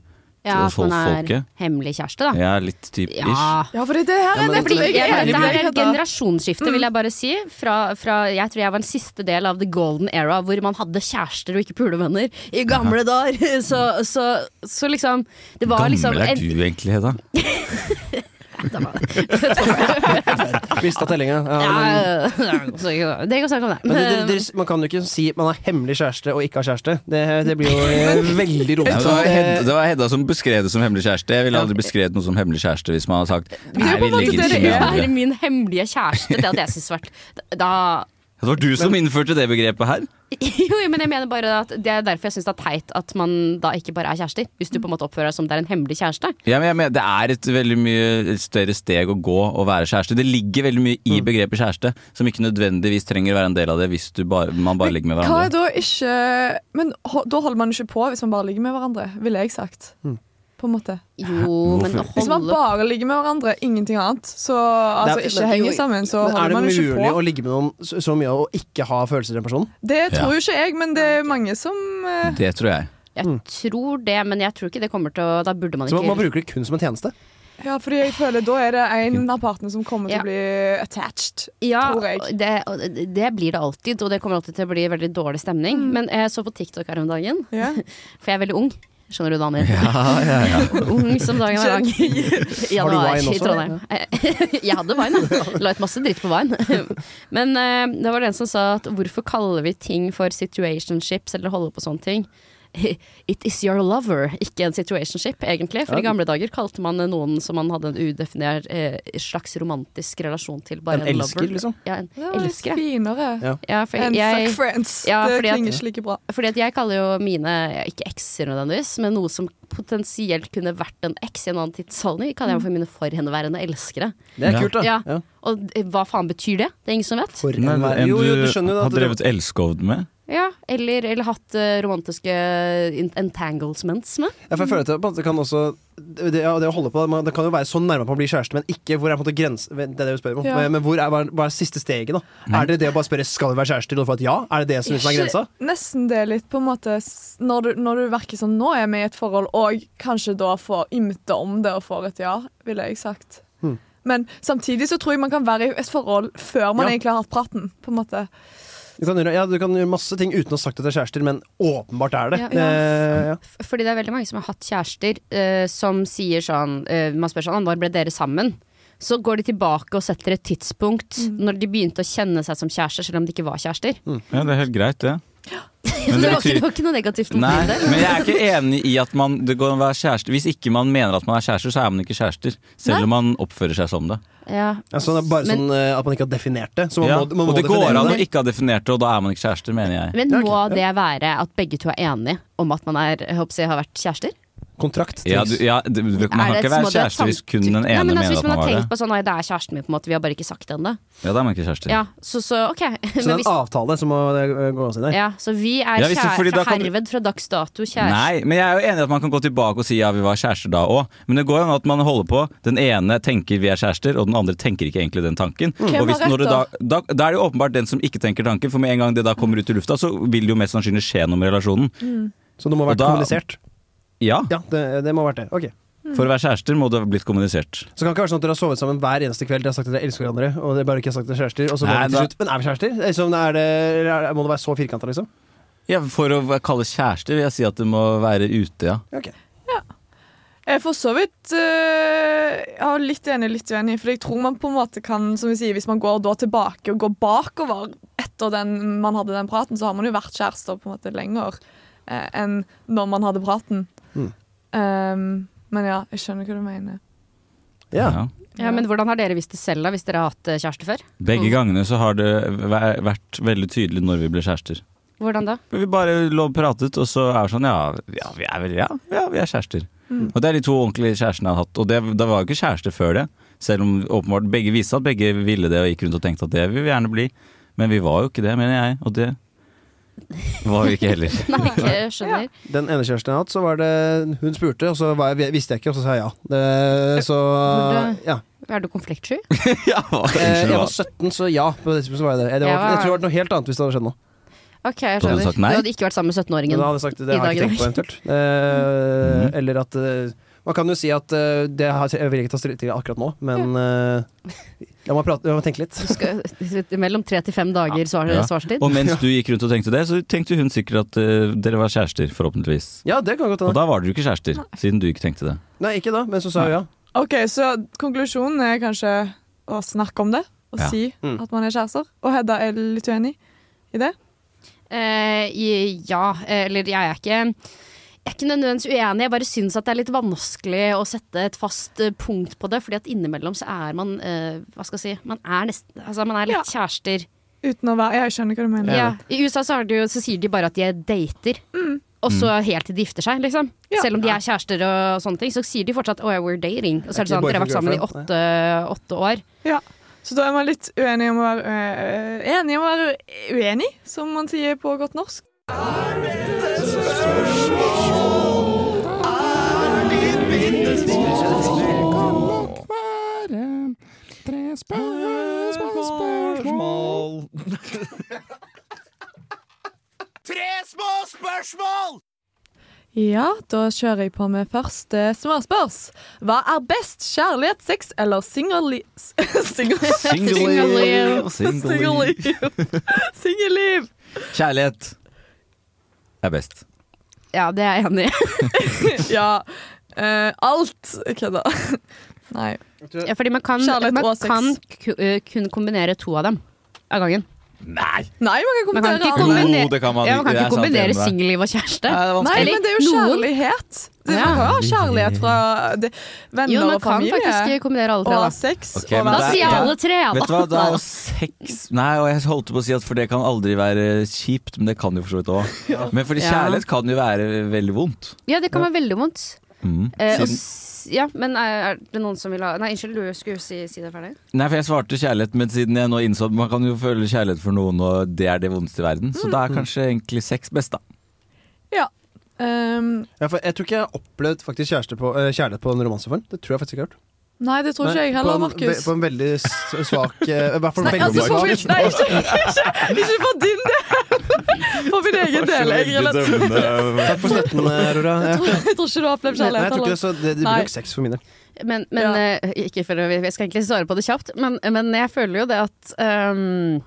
ja, at man er
Folket.
hemmelig kjæreste, da.
Ja, litt typ ish. Mm.
Ja.
Ja, fordi det her
Ja,
er
men det
Det
nettopp
blir,
det
jeg,
jeg er
det
enig
her er
med deg,
et
Petter.
generasjonsskifte, vil jeg bare si. Fra, fra, jeg tror jeg var den siste del av the golden era hvor man hadde kjærester og ikke pulevenner i gamle dager. (laughs) Så, så, så liksom Det var
Gammel
liksom
er
en,
du egentlig, Hedda?
Mista tellinga. Ja,
(laughs)
(laughs)
ja,
men-
så, Det kan snakke om det.
Men det, det, det, man kan jo ikke si man er hemmelig kjæreste og ikke har kjæreste. Det, det blir
(laughs)
jo eh, veldig Eh,
Ja, det, var Hedda,
rotete.
det var Hedda som beskrev det som hemmelig kjæreste. Jeg ville aldri beskrevet noe som hemmelig kjæreste hvis man hadde sagt
er jo på
Nei,
en
vi
måte
ligger
det
ikke
det
med
er.
andre.
er min hemmelige kjæreste. Det hadde jeg syntes vært Da
Det var du som innførte det begrepet her.
(laughs) Jo, men jeg mener bare at det er derfor jeg syns det er teit at man da ikke bare er kjærester. Hvis du på en måte oppfører deg som det er en hemmelig kjæreste.
Ja, men jeg mener, det er et veldig mye større steg å gå å være kjæreste. Det ligger veldig mye
Mm.
i begrepet kjæreste, som ikke nødvendigvis trenger å være en del av det hvis du bare, man bare ligger med
Hva er
hverandre.
da ikke Men ho- da holder man ikke på hvis man bare ligger med hverandre, ville jeg sagt. På en måte.
Jo, men
Hvorfor?
Hvis man
holde
bare ligger med hverandre, ingenting annet, så altså,
men-
ikke
men-
henger sammen, så
Men er
holder
det
man ikke
mulig
på.
å ligge med noen så, så mye og ikke ha følelser til den personen?
Det
Ja.
tror jo ikke jeg, men det er mange som eh,
Det tror jeg.
Jeg tror det, men jeg tror ikke det kommer til å Da burde man
Så
ikke
man, man bruker det kun som en tjeneste?
Ja, fordi jeg føler da er det en av partene som kommer
Ja.
til å bli attached.
Ja,
tror jeg.
og det, og det blir det alltid, og det kommer alltid til å bli veldig dårlig stemning. Men jeg så på TikTok her om dagen,
Ja.
for jeg er veldig ung. Skjønner du, Daniel?
Ja, ja, ja.
(laughs) Ung som dagen er lang. (laughs) I
Har du
januar
wine
i
også?
Trondheim. (laughs) Jeg hadde wine, da. La ut masse dritt på wine. (laughs) Men eh, det var det en som sa at hvorfor kaller vi ting for situationships eller holde på sånne ting? (laughs) It is your lover, ikke en situationship, egentlig. For i gamle dager kalte man noen som man hadde en udefinert eh, slags romantisk relasjon til, bare
En
en,
elsker,
lover.
liksom?
Ja, en
Det var litt
elsker, ja.
finere
ja for
enn
jeg,
fuck friends.
Ja,
det
fordi at-
klinger ikke like bra.
fordi at jeg kaller jo mine, ikke ekser nødvendigvis, men noe som potensielt kunne vært en eks i en annen tidsholdning, kaller jeg for mine forhenværende elskere.
Det er
Ja.
kult, da.
Ja. Og d- hva faen betyr det? Det er ingen som vet.
For
Men
enhver-
en
jo, jo, du
du
skjønner jo da
har
at det-
drevet elskovd med?
Ja, eller, eller hatt eh, romantiske in- entanglements med.
Ja, for jeg føler at det, på en måte kan også det, det, ja, det å holde på, man, det kan jo være sånn så nærme at man blir kjæreste, men ikke hvor er på en måte grens, Det er det du spør om.
Ja.
Men, men hvor er, hva, er- hva er siste steget, da? Er det det å bare spørre skal vi være kjærester, og få et ja? Er det det som liksom er grensa?
Nesten det er litt på en måte s- Når du, når du virker sånn Nå er vi i et forhold, og kanskje da får ymte om det og får et ja, ville jeg sagt.
Hmm.
Men samtidig så tror jeg man kan være i et forhold før man
Ja.
egentlig har hatt praten. på en måte.
Du kan, gjøre, ja, du kan gjøre masse ting uten å ha sagt at det er kjærester, men åpenbart er det.
Ja.
Eh, ja.
F- Fordi det er veldig mange som har hatt kjærester eh, som sier sånn eh, Man spør sånn, når ble dere sammen? Så går de tilbake og setter et tidspunkt når de begynte å kjenne seg som kjærester, selv om de ikke var kjærester. (laughs)
Ja, det er helt greit, det.
Så
Mm.
det
Men det
var ikke,
betyr,
det var ikke noe negativt.
Nei,
Nei.
men jeg er ikke enig i at man, det går an å være kjæreste. Hvis ikke man mener at man er kjærester, så er man ikke kjærester. Selv om man oppfører seg som det.
Ja.
Ja, sånn, det er bare
Men-
sånn eh, at man ikke har definert det. Så man
Ja,
må, man
og
må
det går an å
definere det.
ikke ha definert det, og da er man ikke kjærester, mener jeg.
Men må det være at begge to er enige om at man er, jeg håper å si, har vært kjærester?
Kontrakt.
Ja,
trengs.
du, ja, du, man
Er
kan
det et-
ikke
må
være
det et
kjæreste hvis kun den
samtykke?
ene
Nei, men altså,
mener
Hvis man
at man
har
var det.
tenkt på sånn Nei, det er kjæresten min, på en måte, vi har bare ikke sagt det ennå.
Ja, da er man ikke kjærester.
Ja, så, så ok.
Så
(laughs)
det
Men
er
hvis,
en avtale som må eh, gås inn der.
ja, så vi er
Ja, hvis det-
kjære-
fordi da kan-
herved fra dags dato kjæreste.
Nei, men jeg er jo enig i at man kan gå tilbake og si ja, vi var kjærester da òg. Men det går jo an at man holder på. Den ene tenker vi er kjærester, og den andre tenker ikke egentlig den tanken.
Hvem
Og hvis,
har rett
når det da,
da?
da, da er det jo åpenbart den som ikke tenker tanken, for med en gang det da kommer ut i lufta, så vil det jo mest sannsynlig skje noe med relasjonen.
Så det må ha
Og
vært
da-
kommunisert.
Ja,
Ja, det, det må ha vært det. Ok.
for å være kjærester må det ha blitt kommunisert.
Så det kan ikke være sånn at dere har sovet sammen hver eneste kveld. Dere har sagt at dere elsker hverandre, og dere bare ikke har sagt at dere er kjærester. Og så
Nei,
bare til
da-
slutt, men er vi kjærester? Liksom, er det, er, må det være så firkanta, liksom?
Ja, For å kalle kjærester vil jeg si at det må være ute, ja.
Ja, ok.
Jeg er for så vidt eh, ja, litt enig, litt uenig. For jeg tror man på en måte kan, som vi sier, hvis man går da tilbake og går bakover etter den man hadde den praten, så har man jo vært kjærester på en måte lenger eh, enn når man hadde praten.
Mm.
Um, men ja, jeg skjønner hva du mener.
Ja.
Ja.
Ja, men hvordan har dere visst det selv, da, hvis dere har hatt eh, kjæreste før?
Begge gangene så har det væ- vært veldig tydelig når vi ble kjærester.
Hvordan da?
Vi bare lå og pratet, og så er det sånn ja, ja, vi er vel ja, ja, vi er kjærester. Og det er de to ordentlige kjærestene jeg har hatt. Og det, da var jo ikke kjæreste før det. Selv om åpenbart begge viste at begge ville det og gikk rundt og tenkte at det vil vi gjerne bli. Men vi var jo ikke det, mener jeg. Og det var vi ikke heller.
(laughs) Nei, ikke skjønner.
Den ene kjæresten jeg har hatt, så var det Hun spurte, og så var jeg, visste jeg ikke, og så sa jeg ja. Det, så
Hvor
ja.
Er du konfliktsky?
(laughs) ja, hva-
Eh,
unnskyld,
Jeg
hva?
var 17, så ja. På det tidspunktet så var jeg det. Det
Jeg
var,
var-
jeg tror det hadde vært noe helt annet hvis det hadde skjedd nå.
Ok, jeg
Da hadde du
skjønner.
sagt
Du
nei.
hadde ikke vært sammen med
Men da
17-åringen.
hadde jeg sagt
I
det har jeg ikke
dag,
tenkt på eventuelt. Eh,
Mm.
Eller at eh, Man kan jo si at eh, det har jeg vil jeg ikke ta stilling til akkurat nå, men eh, la meg prate, la meg tenke litt.
Du skal- (laughs) Mellom tre til fem dager svar,
Ja.
svarstid.
Og mens du gikk rundt og tenkte det, så tenkte hun sikkert at eh, dere var kjærester, forhåpentligvis.
Ja, det kan godt
Og
hende.
da var dere jo ikke kjærester, siden du ikke tenkte det.
Nei, ikke da, men så sa hun ja.
OK, så konklusjonen er kanskje å snakke om det og
Ja.
si
Mm.
at man er kjærester. Og Hedda er litt uenig i det.
Eh, i- ja, eh, eller jeg er ikke jeg er ikke nødvendigvis uenig, jeg bare syns at det er litt vanskelig å sette et fast eh, punkt på det. fordi at innimellom så er man eh, Hva skal jeg si Man er, nesten, altså man er litt kjærester.
Uten å være Ja, jeg skjønner hva du mener.
Ja. I USA så, har de jo, så sier de bare at de er dater, og så helt til de gifter seg. liksom
Ja.
Selv om de er kjærester og sånne ting, så sier de fortsatt 'oh, we're dating'. Og så er det
Ikke
sånn, dere har vært sammen i
boyfriend,
åtte, åtte år.
Ja, så da er man litt uenig om å være øh, enig om å være uenig, som man sier på godt norsk. Ja, da kjører jeg på med første småspørs. Hva er best, kjærlighet, sex eller singelli... (laughs) Singelliv.
(laughs)
Single-liv.
Singelliv.
Kjærlighet er best.
Ja, det er jeg enig i.
Ja. eh, alt. Jeg kødder. (laughs) Nei.
Ja, fordi man kan,
Kjærlighet
man
og sex.
kan ku- eh, kun kombinere to av dem av gangen.
Nei!
Nei, man kan
Man kan
kommentere alle.
ikke kombinere-
Jo, det kan man
ja, man kan
ikke.
ikke
Jeg er sant enig
kombinere
med deg.
singelliv og kjæreste.
Nei, det er vanskelig.
Nei, men det er jo
Noen-
kjærlighet. Det
Ja.
man kan ha kjærlighet fra det, venner
Jo, man
og
kan
familie.
faktisk kombinere alle tre.
og
Da,
sex. og
Ok,
da
men det er-
sier jeg
det er-
alle tre, ja.
Vet du
da.
hva, det er jo sex Nei, og jeg holdt på å si at for det kan aldri være kjipt, men det kan jo for så vidt òg. Men fordi
Ja.
kjærlighet kan jo være veldig vondt.
Ja, det kan være veldig vondt.
Mm.
Eh, og
Siden,
s- ja, men er, er det noen som vil ha Nei, unnskyld, du skulle si, si det ferdig.
nei, for jeg svarte kjærlighet, men siden jeg nå innså at man kan jo føle kjærlighet for noen, og det er det vondeste i verden,
Mm.
så da er kanskje egentlig sex best, da.
Ja. Ehm,
Ja, for jeg tror ikke jeg har opplevd faktisk kjæreste på, eh, kjærlighet på en romanseform. Det tror jeg faktisk ikke jeg har gjort.
nei, det tror ikke jeg heller,
På en-
Markus.
På en veldig s- svak eh, I hvert fall
Nei,
veldig
altså, for min,
svak.
nei ikke, ikke, ikke for din del! (laughs) For min egen del. Jeg, relaterer-
Takk for støtten, eh, Aurora. Ja.
jeg, tror, jeg tror ikke du har opplevd
Nei, jeg
kjærlighet.
tror ikke
heller.
det, så det, det blir
Nei.
nok sex for min del.
Men, men eh, ikke for å, Jeg skal egentlig svare på det kjapt, men, men jeg føler jo det at ehm,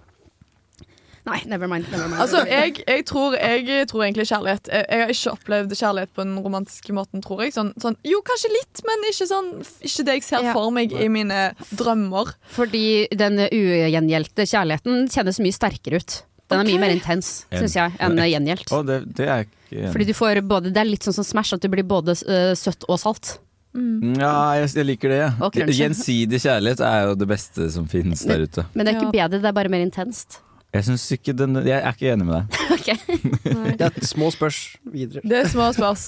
Nei, never mind. Never mind.
Altså, jeg, jeg, tror, jeg tror egentlig kjærlighet Jeg, jeg har ikke opplevd kjærlighet på den romantiske måten, tror jeg. Sånn, sånn, jo, kanskje litt, men ikke, sånn, ikke det jeg ser
Ja.
for meg i mine drømmer.
Fordi den ugjengjeldte kjærligheten kjennes mye sterkere ut. Den er
Ok.
mye mer intens, syns jeg, enn gjengjeldt.
Å, det, det er jeg ikke enig i.
Fordi du får både, Det er litt sånn som Smash, at du blir både eh, søtt og salt.
Mm, Ja, jeg, jeg liker det.
Og crunchy.
Gjensidig kjærlighet er jo det beste som finnes der ute.
(laughs) Men det er ikke bedre, det er bare mer intenst.
Jeg, synes ikke den, jeg er ikke enig med deg.
Nei.
Det er et små spørs videre.
Det er små spørs.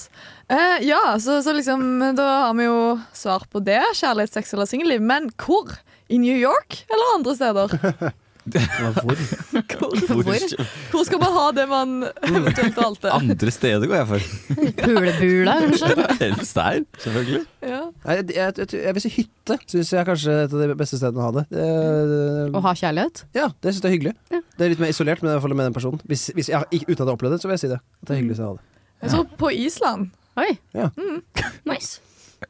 Eh, ja, så, så liksom Da har vi jo svar på det. Kjærlighet, sex eller singelliv. Men hvor? I New York eller andre steder? Hvor, hvor skal man ha det man eventuelt valgte?
Andre steder går jeg for. (laughs)
Pulebula, kanskje?
Helst der, selvfølgelig.
Ja.
Nei, jeg, jeg, jeg, jeg vil si hytte. Syns jeg kanskje er et av de beste stedene å ha det. det
Å ha kjærlighet?
ja, det syns jeg er hyggelig. Det er litt mer isolert, men i hvert fall med den personen. Hvis, hvis jeg, har- ikke- uten at jeg har opplevd det, så vil jeg si det. At det er hyggelig å ha det.
Jeg tror på Island.
Oi.
Ja.
Mm. Nice.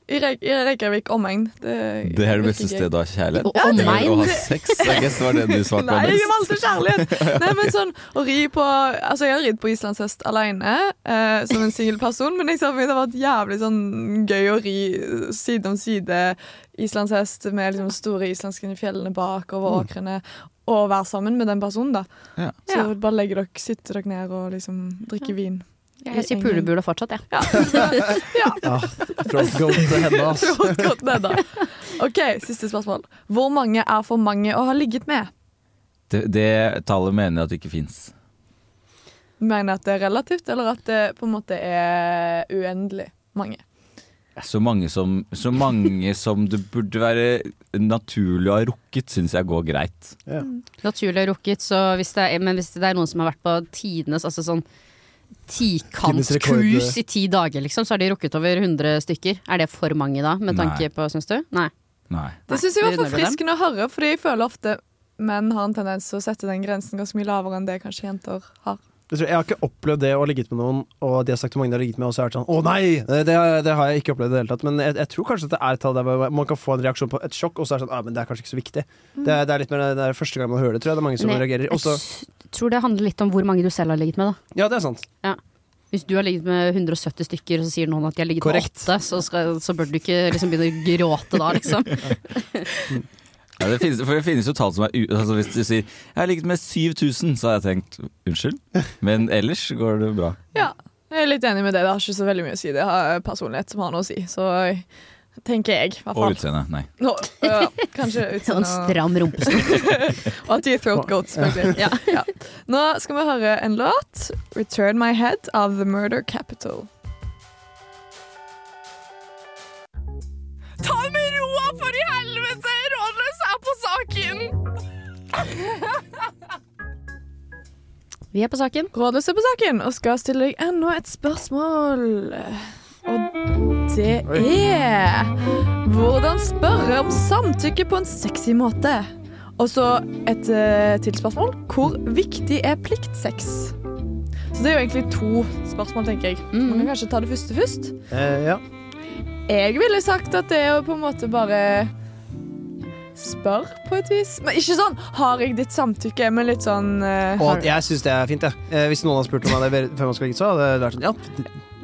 I, Rey- i Reykjavik omegn. Det,
Det er det beste
virker gøy.
stedet å ha kjærlighet.
Og omegn.
Å ha sex, I guess var det (laughs) du svarte på.
Nei, jeg
Anders.
valgte kjærlighet! Nei, men sånn, å ri på Altså, jeg har ridd på islandshest alene eh, som en singel person, men jeg ser for meg det har vært jævlig sånn gøy å ri side om side islandshest med liksom store islandske fjellene bak over åkrene. Og være sammen med den personen, da.
Ja.
Så
Ja.
bare legger dere, sitter dere ned og liksom drikker vin.
Jeg sier pulebula fortsatt, jeg.
Ja, fra goat til henne, ass.
(laughs) Godt, godt det, da. OK, siste spørsmål. Hvor mange er for mange å ha ligget med?
Det, det tallet mener jeg at det ikke fins.
Mener at det er relativt, eller at det på en måte er uendelig mange?
Så mange som, så mange som det burde være naturlig å ha rukket, syns jeg går greit.
Ja.
Naturlig og rukket, så hvis det er, men hvis det er noen som har vært på tidenes altså sånn
Tidenes rekord. eh.
tikantscruise i ti dager, liksom, så har de rukket over 100 stykker. Er det for mange da, med
Nei.
tanke på, syns du? Nei.
Nei.
Det syns jeg var
det unner vi dem.
forfriskende å høre, fordi jeg føler ofte menn har en tendens til å sette den grensen ganske mye lavere enn det kanskje jenter har.
Jeg, tror, jeg har ikke opplevd det å ha ligget med noen, og de har sagt hvor mange de har ligget med, og så har jeg vært sånn Å nei! Det, det har jeg ikke opplevd i det hele tatt. Men jeg, jeg tror kanskje at det er et tall der man kan få en reaksjon på et sjokk, og så er det sånn Ja, men det er kanskje ikke så viktig. Det, er, det er litt mer det er første gang man hører det, tror jeg. Det er mange som
Men jeg-
reagerer. Og så
Jeg tror det handler litt om hvor mange du selv har ligget med, da.
Ja, det er sant.
Hvis du har ligget med 170 stykker, og så sier noen at de har ligget
Korrekt.
med åtte, så, skal, så bør du ikke liksom begynne å gråte da, liksom.
Ja, det finnes, for det finnes jo tall som er u... Altså hvis du sier 'jeg har ligget med 7000', så har jeg tenkt unnskyld, men ellers går det bra.
Ja, jeg er litt enig med det. Det har ikke så veldig mye å si. Det har personlighet som har noe å si. Så tenker jeg, i hvert
Og
fall.
utseende, nei.
Nå, ja, kanskje
(laughs) Sånn
utseende.
stram rumpestol.
Og at de er throat goats, selvfølgelig. Ja, ja. Nå skal vi høre en låt. 'Return My Head' av The Murder Capital. Ta det med roa, for i helvete! Rådløs er på saken!
Vi er på saken.
Rådløse på saken og skal stille deg enda et spørsmål. Og det er Hvordan spørre om samtykke på en sexy måte? Og så et eh, til spørsmål. Hvor viktig er pliktsex? Så det er jo egentlig to spørsmål, tenker jeg. Man
Mhm.
kan kanskje ta det første først.
Eh, ja.
Jeg ville sagt at det er jo på en måte bare Spør på et vis. Men ikke sånn 'har jeg ditt samtykke', men litt sånn eh,
Og
har-
at jeg syns det er fint, jeg. Eh, Hvis noen hadde spurt om det før man skulle ligget, så hadde det vært sånn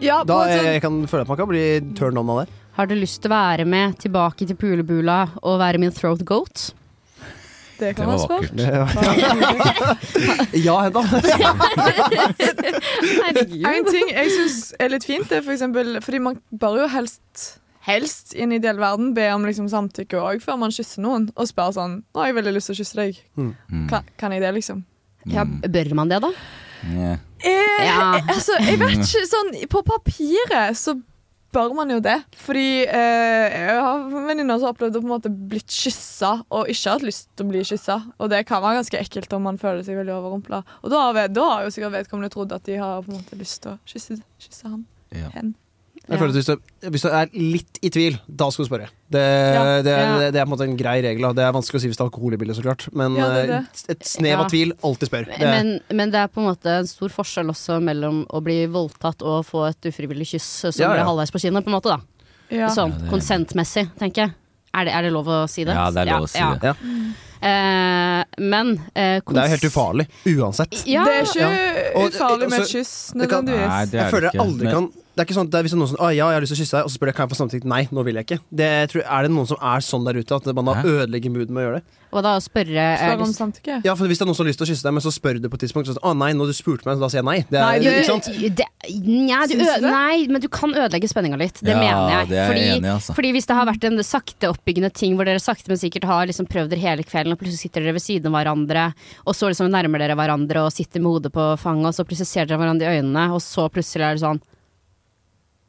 Ja,
ja, på
da eh,
en sånn-
jeg, jeg kan føle at man kan bli turned on av det.
Har du lyst til å være med tilbake til pulebula og være min throat goat?
Det kan
Det var
man spørre.
vakkert.
(laughs) Ja, Hedda.
(laughs) En ting jeg syns er litt fint, det er for eksempel Fordi man bør jo helst Helst i en ideell verden be om liksom samtykke òg før man kysser noen. Og spør sånn 'Å, jeg har veldig lyst til å kysse deg.
Mm.
Kan, kan jeg det?' liksom.
Ja,
Mm.
bør man det, da?
Yeah.
Eh,
Ja.
Altså, jeg vet ikke Sånn på papiret så bør man jo det. Fordi eh, jeg har venninner som har opplevd å på en måte blitt kyssa og ikke hatt lyst til å bli kyssa. Og det kan være ganske ekkelt om man føler seg veldig overrumpla. Og da har, ved, da har jo sikkert vedkommende trodd at de har på en måte lyst til å kysse, kysse han.
Ja.
Hen.
Jeg føler at hvis du, hvis du er litt i tvil, da skal du spørre. Det,
Ja.
det, er,
Ja.
det, det er på en måte en grei regel. da. Det er vanskelig å si hvis det er alkohol i bildet, så klart. Men
Ja, det er det.
eh, et snev
Ja.
av tvil, alltid spør. Det,
Men, men det er på en måte en stor forskjell også mellom å bli voldtatt og få et ufrivillig kyss som
Ja, ja.
blir halvveis på kinnet, på en måte, da.
Ja.
Sånn
Ja, det-
konsentmessig, tenker jeg. Er det, er det lov å si det?
Ja, det er lov å si det.
Ja.
Eh, men eh,
det er jo helt
kons-
ufarlig. Uansett.
Ja,
det er ikke
Ja. Og det-
ufarlig med et
altså,
kyss,
det kan-
nødvendigvis.
Nei, det er
Jeg føler
det
jeg
ikke.
aldri kan Det er ikke sånn at det er hvis det er noen som ah, ja, jeg har lyst til å kysse deg, og så spør jeg kan jeg få samtykke. Nei, nå vil jeg ikke. Det tror, er det noen som er sånn der ute at man da
Hæ?
ødelegger moodet med å gjøre det?
Og da å spørre eh, er
Spør om
det-
samtykke.
Ja, for Hvis det er noen som har lyst til å kysse deg, men så spør du på et tidspunkt så, sånn, ah, nei, nå du spurte meg, så da sier jeg nei. Det er,
Nei,
ikke sant?
Det, nja, du
Syns
ø
du det?
nei, men du kan ødelegge spenninga litt. Det
Ja,
mener jeg.
det er jeg
fordi,
enig i, altså.
fordi hvis det har vært en sakte oppbyggende ting hvor dere sakte, men sikkert har liksom prøvd dere hele kvelden, og plutselig sitter dere ved siden av hverandre, og så liksom nærmer dere hverandre og sitter med hodet på fanget, og så plutselig ser dere hverandre i øynene, og så plutselig er det sånn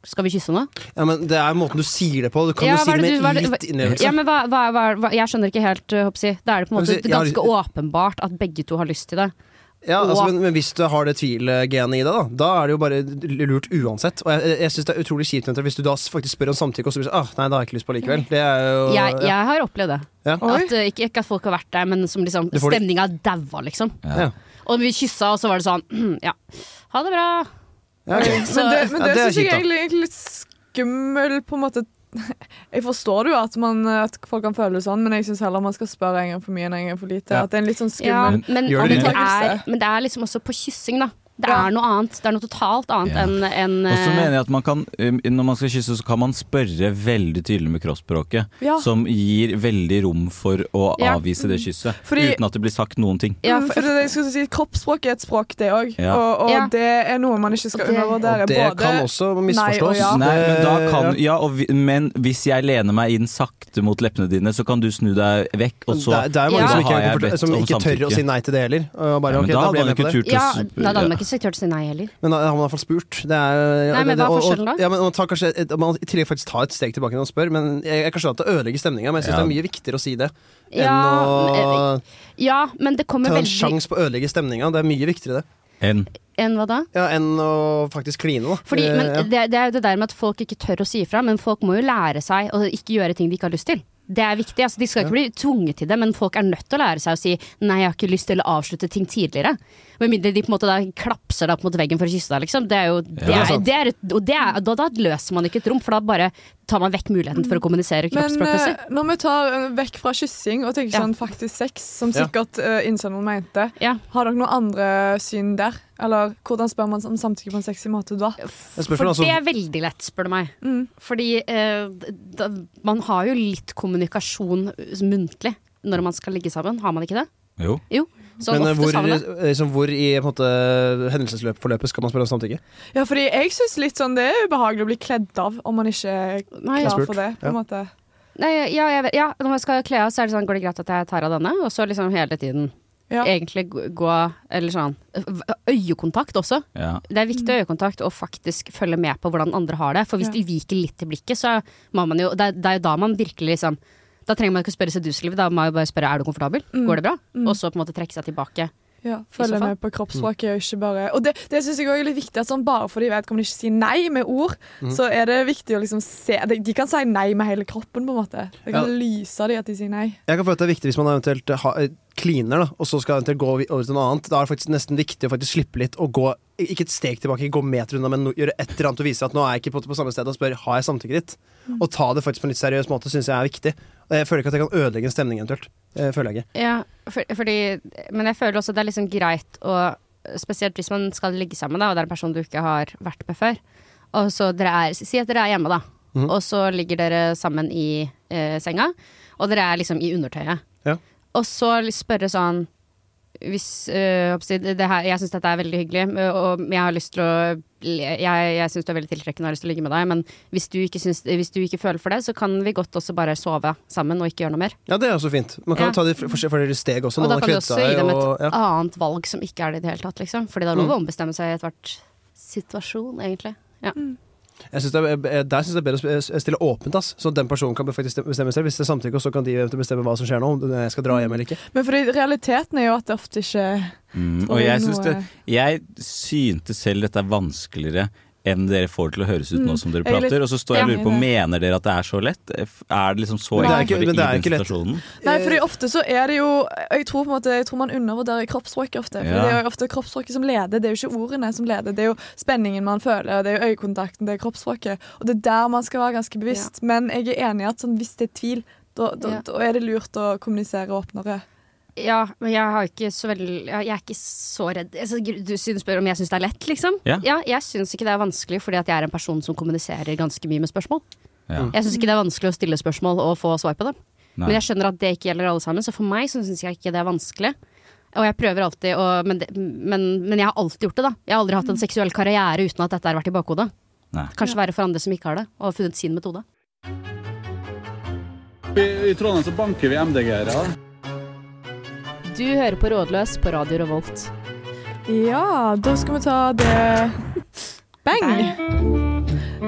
Skal vi kysse nå?
Ja, men Det er måten du sier det på. Du kan
Ja,
jo si
hva er
det
det du- hva er
med
det-
litt
Ja,
innlevelse.
men hva, hva, hva, hva Jeg skjønner ikke helt, øh, hoppsi. Da er det på en
Jeg vil si,
måte
jeg har
ganske åpenbart at begge to har lyst til det.
Ja, altså,
og-
men, men hvis du har det tvilgenet i deg, da, da er det jo bare lurt uansett. Og jeg, jeg- jeg syns det er utrolig kjipt Jentra, hvis du da s- faktisk spør om samtykke, og så blir det sånn ah, nei, da har jeg ikke lyst på likevel. Det er jo
Jeg, jeg har opplevd det.
Ja.
Oi.
At, øh, ikke, ikke at folk har vært der, men som liksom,
Du får det-
stemninga daua, liksom.
Ja.
Og vi kyssa, og så var det sånn (clears throat) Ja, ha det bra.
Ja, ok.
Så-
Men det, men
Ja,
det
det er
syns jeg
kjipt, da.
egentlig er litt skummel, på en måte. (laughs) Jeg forstår jo at, man, at folk kan føle det sånn, men jeg syns heller man skal spørre en gang for mye enn en gang for lite.
Ja.
At det er en litt sånn
ja,
skummel
men, men,
Gjør det
det
litt.
er, men det er liksom også på kyssing, da. Det
Ja.
er noe annet. Det er noe totalt annet
Ja.
enn enn,
Og så
eh,
mener jeg at man kan, um, når man skal kysse, så kan man spørre veldig tydelig med kroppsspråket.
Ja.
Som gir veldig rom for å
Ja.
avvise det kysset.
Fordi-
uten at det blir sagt noen ting.
ja,
Mm,
for,
for det, jeg skulle si, Kroppsspråk er et språk, det òg.
Ja.
Og, og
Ja.
det er noe man ikke skal
Og det-
undervurdere.
Og det
Både-
kan også
nei og
misforstås.
ja.
Nei, men, da kan,
Det-
ja, og vi, men hvis jeg lener meg inn sakte mot leppene dine, så kan du snu deg vekk, og så
det, er- det er jo mange
Ja.
som ikke,
Da har jeg
er komforta-
bedt
som ikke
om
tør å
samtykke.
si nei til det heller. Og bare,
Ja, men
ok,
da
da
hadde
blir jeg
man
med på
ikke
det.
turt å
ja,
s-
da hadde
ja.
man ikke sagt tørt å si nei heller.
Men da har man i hvert fall spurt. Det er,
Nei,
det-
men
og-
hva er
og-
forskjellen da?
Ja, men man, tar kanskje, et- man i tillegg faktisk tar et steg tilbake når man spør, men jeg, jeg kan skjønne at det ødelegger stemninga, men jeg syns det
Ja.
er mye viktigere å si det enn
Ja, eh,
å
ja, men det kommer
ta en
veldig
sjanse på å ødelegge stemninga. Det er mye viktigere, det.
enn
Enn hva da?
Ja, enn å faktisk kline, da.
Fordi,
Eh,
men
ja.
det, det er jo det der med at folk ikke tør å si ifra, men folk må jo lære seg å ikke gjøre ting de ikke har lyst til. Det er viktig, altså De skal ikke bli tvunget til det, men folk er nødt til å lære seg å si 'nei, jeg har ikke lyst til å avslutte ting tidligere'. Med mindre de på en måte da klapser deg opp mot veggen for å kysse deg, liksom. Det er jo, det
Ja,
er,
sant.
det er, et- og det er, da, da løser man ikke et rom, for da bare tar man vekk muligheten for å kommunisere
Men
kroppsspråkmessig.
eh, når vi tar eh, vekk fra kyssing og tenker
Ja.
sånn faktisk sex, som
Ja.
sikkert uh, innsenderen mente,
Ja.
har dere noen andre syn der? Eller hvordan spør man om samtykke på en sexy måte da?
Jeg spør
For
for
det
altså,
er veldig lett, spør du meg. Fordi eh, da, man har jo litt kommunikasjon muntlig når man skal ligge sammen, har man ikke det?
Jo.
Jo. Så
men eh,
ofte
hvor,
sa man det.
liksom, hvor i på en måte, hendelsesforløpet skal man spørre om samtykke?
Ja, fordi jeg syns litt sånn det er ubehagelig å bli kledd av om man ikke er
Nei,
klar
spurt.
for det. på
Ja.
en måte.
Nei, ja, jeg, vet- ja, når man skal kle av, så er det sånn Går det greit at jeg tar av denne? Og så liksom hele tiden
Ja.
egentlig gå- gå Eller sånn ø- Øyekontakt også.
Ja.
Det er viktig øyekontakt og faktisk følge med på hvordan andre har det. For hvis
Mm. Ja.
de viker litt i blikket, så må man jo Det, er- det er jo da man virkelig liksom Da trenger man ikke å spørre seduseliv, da må man jo bare spørre er du komfortabel,
Mm.
går det bra? Og så på en måte trekke seg tilbake.
Ja,
så
Følge
fall.
med på
Mm.
kroppsspråket. Og ikke bare Og det, det syns jeg også er litt viktig. at sånn Bare fordi vedkommende ikke sier nei med ord,
Mm.
så er det viktig å liksom se de, de kan si nei med hele kroppen, på en måte. Det kan
Ja.
lyse de at de sier nei.
Jeg kan føle at det er viktig hvis man eventuelt har, kliner, da, og så skal eventuelt gå over til noe annet. Da er det faktisk nesten viktig å faktisk slippe litt og gå ikke et steg tilbake, gå meter unna, men no, gjøre et eller annet og vise at nå er jeg ikke på, på samme sted og spør har jeg samtykket ditt.
Mm.
Og ta det faktisk på en litt seriøs måte syns jeg er viktig. Og jeg føler ikke at jeg kan ødelegge en stemning eventuelt. Eh, føler jeg ikke.
Ja, for, fordi, men jeg føler også det er liksom greit å Spesielt hvis man skal ligge sammen, da, og det er en person du ikke har vært med før. Og så dere er, Si at dere er hjemme, da. Og så ligger dere sammen i eh, senga, og dere er liksom i undertøyet.
Ja.
Og så spørre sånn hvis, eh, hoppsi, det her, Jeg syns dette er veldig hyggelig, eh, og jeg har lyst til å Jeg, jeg syns du er veldig tiltrekkende og har lyst til å ligge med deg, men hvis du, ikke syns, hvis du ikke føler for det, så kan vi godt også bare sove sammen og ikke gjøre noe mer.
Ja, det er også fint. Man kan
Ja.
jo ta de f- forskjellige forskjellige steg også. når
Og da
man
kan du
har kledd
også
seg,
gi dem et
og- ja. Mm.
annet valg som ikke er det i det hele tatt, liksom. Fordi det er lov å ombestemme seg i ethvert situasjon, egentlig. Ja.
Jeg synes det er, eh, der syns jeg det er bedre å sp- eh, stille åpent, ass. så den personen kan faktisk bestemme selv. Hvis det er samtykke, og så kan de eventuelt bestemme hva som skjer nå, om jeg skal dra hjem eller ikke.
Men fordi realiteten er jo at det ofte ikke
Mm.
Tror
Og jeg,
noe-
synes det, jeg syntes selv dette er vanskeligere enn dere får det til å høres ut nå som dere
Jeg er litt-
prater. Og så står jeg og
Ja.
lurer på, mener dere at det er så lett? Er det liksom så
Men det er
enkelt
ikke-
for
men det
dere
er
i
ikke
den
lett.
situasjonen?
Nei, fordi ofte så er det jo Jeg tror på en måte Jeg tror man undervurderer kroppsspråket ofte. Fordi
Ja.
Det er jo ofte kroppsspråket som leder, det er jo ikke ordene som leder. Det er jo spenningen man føler, det er jo øyekontakten, det er kroppsspråket. Og det er der man skal være ganske bevisst. Men jeg er enig i at sånn, hvis det er tvil, da, da,
Ja.
da er det lurt å kommunisere åpnere.
Ja, men jeg, har ikke så veldig, jeg jeg er ikke så redd. Altså, gr- Du syns- spør om jeg syns det er lett, liksom?
Ja.
jeg syns ikke det er vanskelig, fordi at jeg er en person som kommuniserer ganske mye med spørsmål.
Ja.
Jeg syns ikke det er vanskelig å stille spørsmål og få svar på dem.
Nei.
Men jeg skjønner at det ikke gjelder alle sammen, så for meg så syns jeg ikke det er vanskelig. Og jeg prøver alltid å men, det, men, men jeg har alltid gjort det, da. Jeg har aldri hatt en seksuell karriere uten at dette har vært i bakhodet.
Nei.
Kanskje verre for andre som ikke har det, og har funnet sin metode.
I, i Trondheim så banker vi MDG-ere.
Du hører på Rådløs på Radio Revolt.
Ja, da skal vi ta det Bang!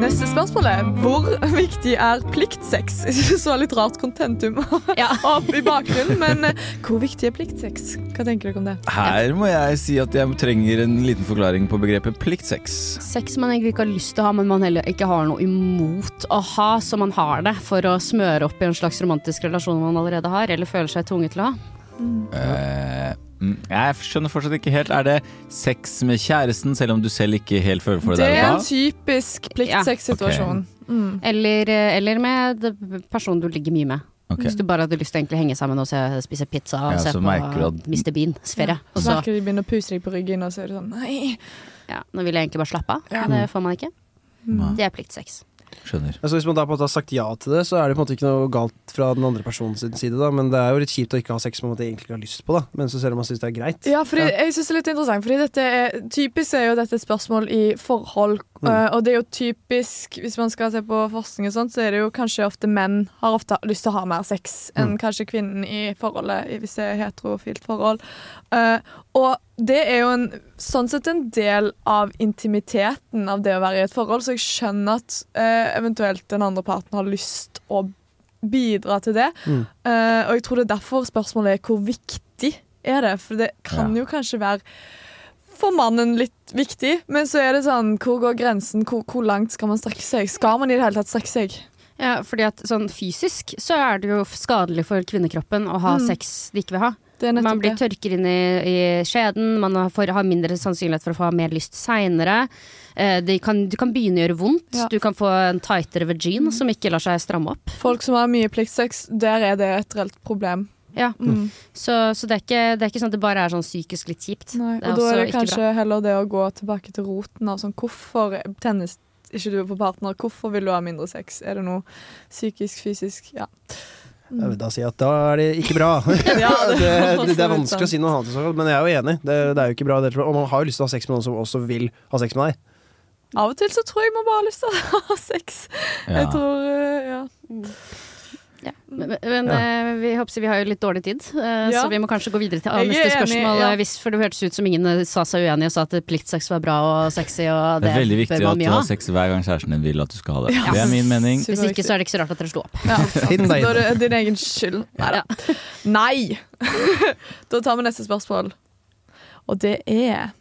Neste spørsmål er hvor viktig er pliktsex? (laughs) Så litt rart kontentum
Ja.
opp i bakgrunnen, men eh, hvor viktig er pliktsex? Hva tenker dere om det?
Her må jeg si at jeg trenger en liten forklaring på begrepet pliktsex.
Sex man egentlig ikke har lyst til å ha, men man heller ikke har noe imot å ha, så man har det for å smøre opp i en slags romantisk relasjon man allerede har, eller føler seg tvunget til å ha.
Eh, mm, jeg skjønner fortsatt ikke helt. Er det sex med kjæresten, selv om du selv ikke helt føler for det?
Det
der
er
og
en
da?
typisk pliktsex-situasjon. Mm.
Eller, eh, eller med det- personen du ligger mye med.
Ok.
Hvis du bare hadde lyst til å egentlig henge sammen og se, spise pizza og
Ja,
se
så
på
merker du at-
Mr. Beans ferie. Og
Så
så,
merker de begynner å puse deg på ryggen, og så er du sånn nei.
ja, nå vil jeg egentlig bare slappe av. Det får man ikke.
Mm.
Nei.
Det er pliktsex.
Skjønner.
Altså, hvis man da på en måte har sagt ja til det, så er det på en måte ikke noe galt fra den andre personens side, da. Men det er jo litt kjipt å ikke ha sex man på en måte egentlig ikke har lyst på, da. Men så selv om man syns det er greit.
Ja, fordi jeg synes det er litt interessant, fordi dette er, typisk er jo dette et spørsmål i forhold, eh, og det er jo typisk, hvis man skal se på forskning og sånt, så er det jo kanskje ofte menn har ofte lyst til å ha mer sex enn kanskje kvinnen i forholdet, i- hvis det er heterofilt forhold. Eh, og det er jo en, sånn sett en del av intimiteten av det å være i et forhold, så jeg skjønner at eh, eventuelt den andre parten har lyst å bidra til det.
Mm.
Eh, og jeg tror det er derfor spørsmålet er hvor viktig er det? For det kan
Ja.
jo kanskje være for mannen litt viktig, men så er det sånn hvor går grensen? Hvor, hvor langt skal man strekke seg? Skal man i det hele tatt strekke seg?
Ja, fordi at sånn fysisk så er det jo skadelig for kvinnekroppen å ha sex de ikke vil ha.
Det er
Man
nettopp
blir
det.
tørker inn i, i skjeden, man har, får, har mindre sannsynlighet for å få mer lyst seinere. Eh, det kan, du kan begynne å gjøre vondt.
Ja. Mm.
Du kan få en tightere vagin som ikke lar seg stramme opp.
Folk som har mye pliktsex, der er det et reelt problem.
Ja.
Mm.
Så, så det, er ikke, det er ikke sånn at det bare er sånn psykisk litt kjipt.
Nei,
det er
og da er
også
det
ikke bra.
kanskje heller det å gå tilbake til roten av sånn hvorfor tennis ikke du på partner, hvorfor vil du ha mindre sex? Er det noe psykisk, fysisk? Ja.
Jeg vil da si at da er det ikke bra.
Ja,
(laughs) det,
det er sånn.
det, det
absolutt
er vanskelig å si noe annet, i så fall, men jeg er jo enig. Det, det er jo ikke bra. Det, tror jeg. og man har jo lyst til å ha sex med noen som også vil ha sex med deg.
Av og til så tror jeg man bare har lyst til å ha sex.
Ja.
Jeg tror, eh, ja.
Ja. Men, men eh, vi, håper, vi har jo litt dårlig tid, eh,
Ja.
så vi må kanskje gå videre til ah,
Jeg er
neste
enig,
spørsmål.
ja.
eh, Hvis, for det hørtes ut som ingen eh, sa seg uenig og sa at pliktsex var bra og sexy. Og
Det
det,
er veldig viktig
bør man
at du
mye ha.
har sex hver gang kjæresten din vil at du skal ha det. Det er min mening.
Hvis ikke så er det ikke så rart at dere slo opp.
(laughs)
Ja,
Hidden
Da
date.
er det din egen skyld. Nei da. (laughs) Nei! da tar vi neste spørsmål. Og det er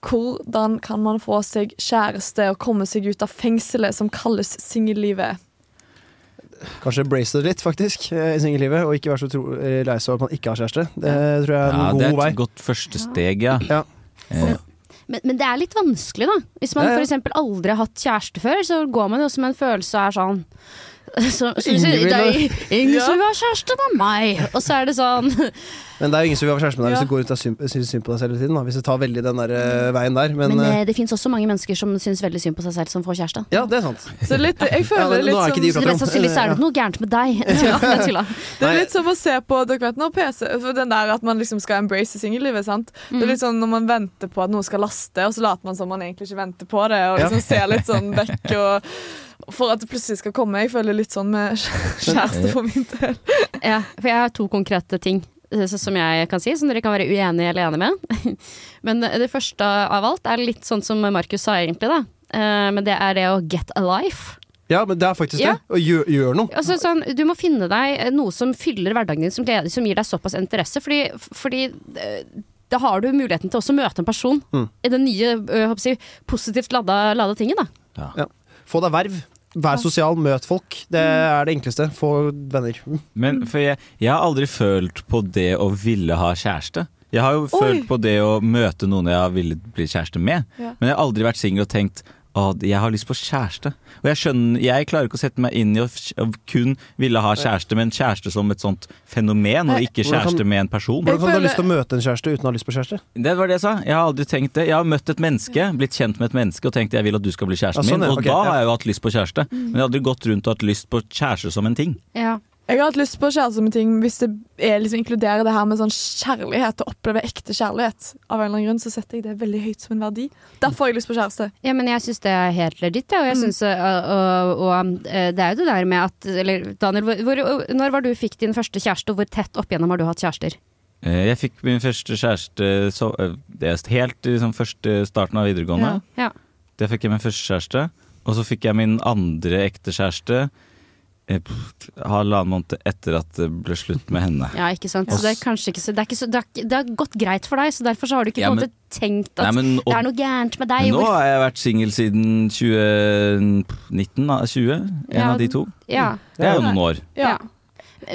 Hvordan kan man få seg kjæreste og komme seg ut av fengselet som kalles singellivet?
Kanskje brace det litt, faktisk, eh, i singellivet. Og ikke være så tro, eh, lei seg over at man ikke har kjæreste. Det tror jeg er en
Ja, det
god
er
vei.
et godt første steg, ja.
Ja.
Eh,
Men, men det er litt vanskelig, da. Hvis man
Ja, ja.
for eksempel aldri har hatt kjæreste før, så går man jo som en følelse og er sånn (laughs) så, så, så,
Ingen vil
Det er ingen
Ja.
som vil ha kjæreste med meg! Og så er det sånn
Men det er jo ingen som vil ha kjæreste med deg
Ja.
hvis du går ut og syn- syns synd på deg selv hele tiden. Da. Hvis du tar veldig den der, eh, veien der. (laughs) Men,
Men
eh,
eh, det fins også mange mennesker som syns veldig synd på seg selv, som får kjæreste.
ja, det er sant.
Så litt, jeg
(laughs) Ja,
føler
men
det
nå er ikke
litt sånn
de
som
Så det er mest sannsynlig så er det noe gærent med
(laughs)
deg. Jeg tulla, jeg tulla.
Det er litt som å se på dere vet, når PC, for den der at man liksom skal embrace singellivet. sant? Det
Mm.
er litt sånn når man venter på at noe skal laste, og så later man som man egentlig ikke venter på det. og liksom ser litt sånn vekk og, For at det plutselig skal komme. Jeg føler litt sånn med kjæreste for min del.
Ja, for jeg har to konkrete ting eh, så- som jeg kan si, som dere kan være uenige eller enige med. (laughs) Men eh, det første av alt er litt sånn som Markus sa egentlig, da. Eh, Men det er det å get a life.
Ja, men det er faktisk
Ja.
det. Og gjør, gjør noe.
Altså, sånn, du må finne deg eh, noe som fyller hverdagen din, som, gleder, som gir deg såpass interesse. Fordi, fordi eh, da har du muligheten til også å møte en person
Mm.
i det nye, eh, håper jeg, å si, positivt lada, lada tinget. Da.
Få deg verv. Vær sosial, møt folk. Det er det enkleste. Få venner.
Men for jeg, jeg har aldri følt på det å ville ha kjæreste. Jeg har jo følt på det å møte noen jeg har villet bli kjæreste med,
Ja.
men jeg har aldri vært singel og tenkt Å, jeg har lyst på kjæreste. Og jeg skjønner, jeg klarer ikke å sette meg inn i å f- å kun ville ha kjæreste, men kjæreste som et sånt fenomen, og ikke
Hvordan kan-
kjæreste med en person.
Hvordan kan du ha
føler-
lyst til å møte en kjæreste uten å ha lyst på kjæreste?
Det var det jeg sa. Jeg har aldri tenkt det. Jeg har møtt et menneske, blitt kjent med et menneske og tenkt jeg vil at du skal bli kjæresten
Ja, sånn,
min.
ja.
Og
Ok,
da
ja.
har jeg jo hatt lyst på kjæreste. Men jeg har aldri gått rundt og hatt lyst på kjæreste som en ting.
Ja.
Jeg har hatt lyst på kjæreste med ting hvis det er liksom inkluderer det her med sånn kjærlighet, å oppleve ekte kjærlighet. Av en eller annen grunn så setter jeg det veldig høyt som en verdi. Derfor har jeg lyst på kjæreste.
Ja, men jeg syns det er helt legit, ja, og jeg synes, øh, og, og øh, det er jo det der med at Eller Daniel, hvor, hvor, når var du fikk din første kjæreste, og hvor tett opp igjennom har du hatt kjærester?
Eh, Jeg fikk min første kjæreste så, eh, det er helt i liksom, første starten av videregående.
Ja.
Det fikk jeg min første kjæreste. Og så fikk jeg min andre ekte kjæreste eh, pff, halvannen måned etter at det ble slutt med henne.
(laughs) Ja, ikke sant? Så
Ass.
det er kanskje ikke så Det, er ikke så, det, er, ikke- det har gått greit for deg, så derfor så har du ikke
Ja,
på en
men-
måte tenkt at
Nei, men, og,
det er noe gærent med deg.
men nå
Hvor,
har jeg vært singel siden 2019, da, 20? En
Ja,
av de to.
ja,
Det er jo noen år.
ja.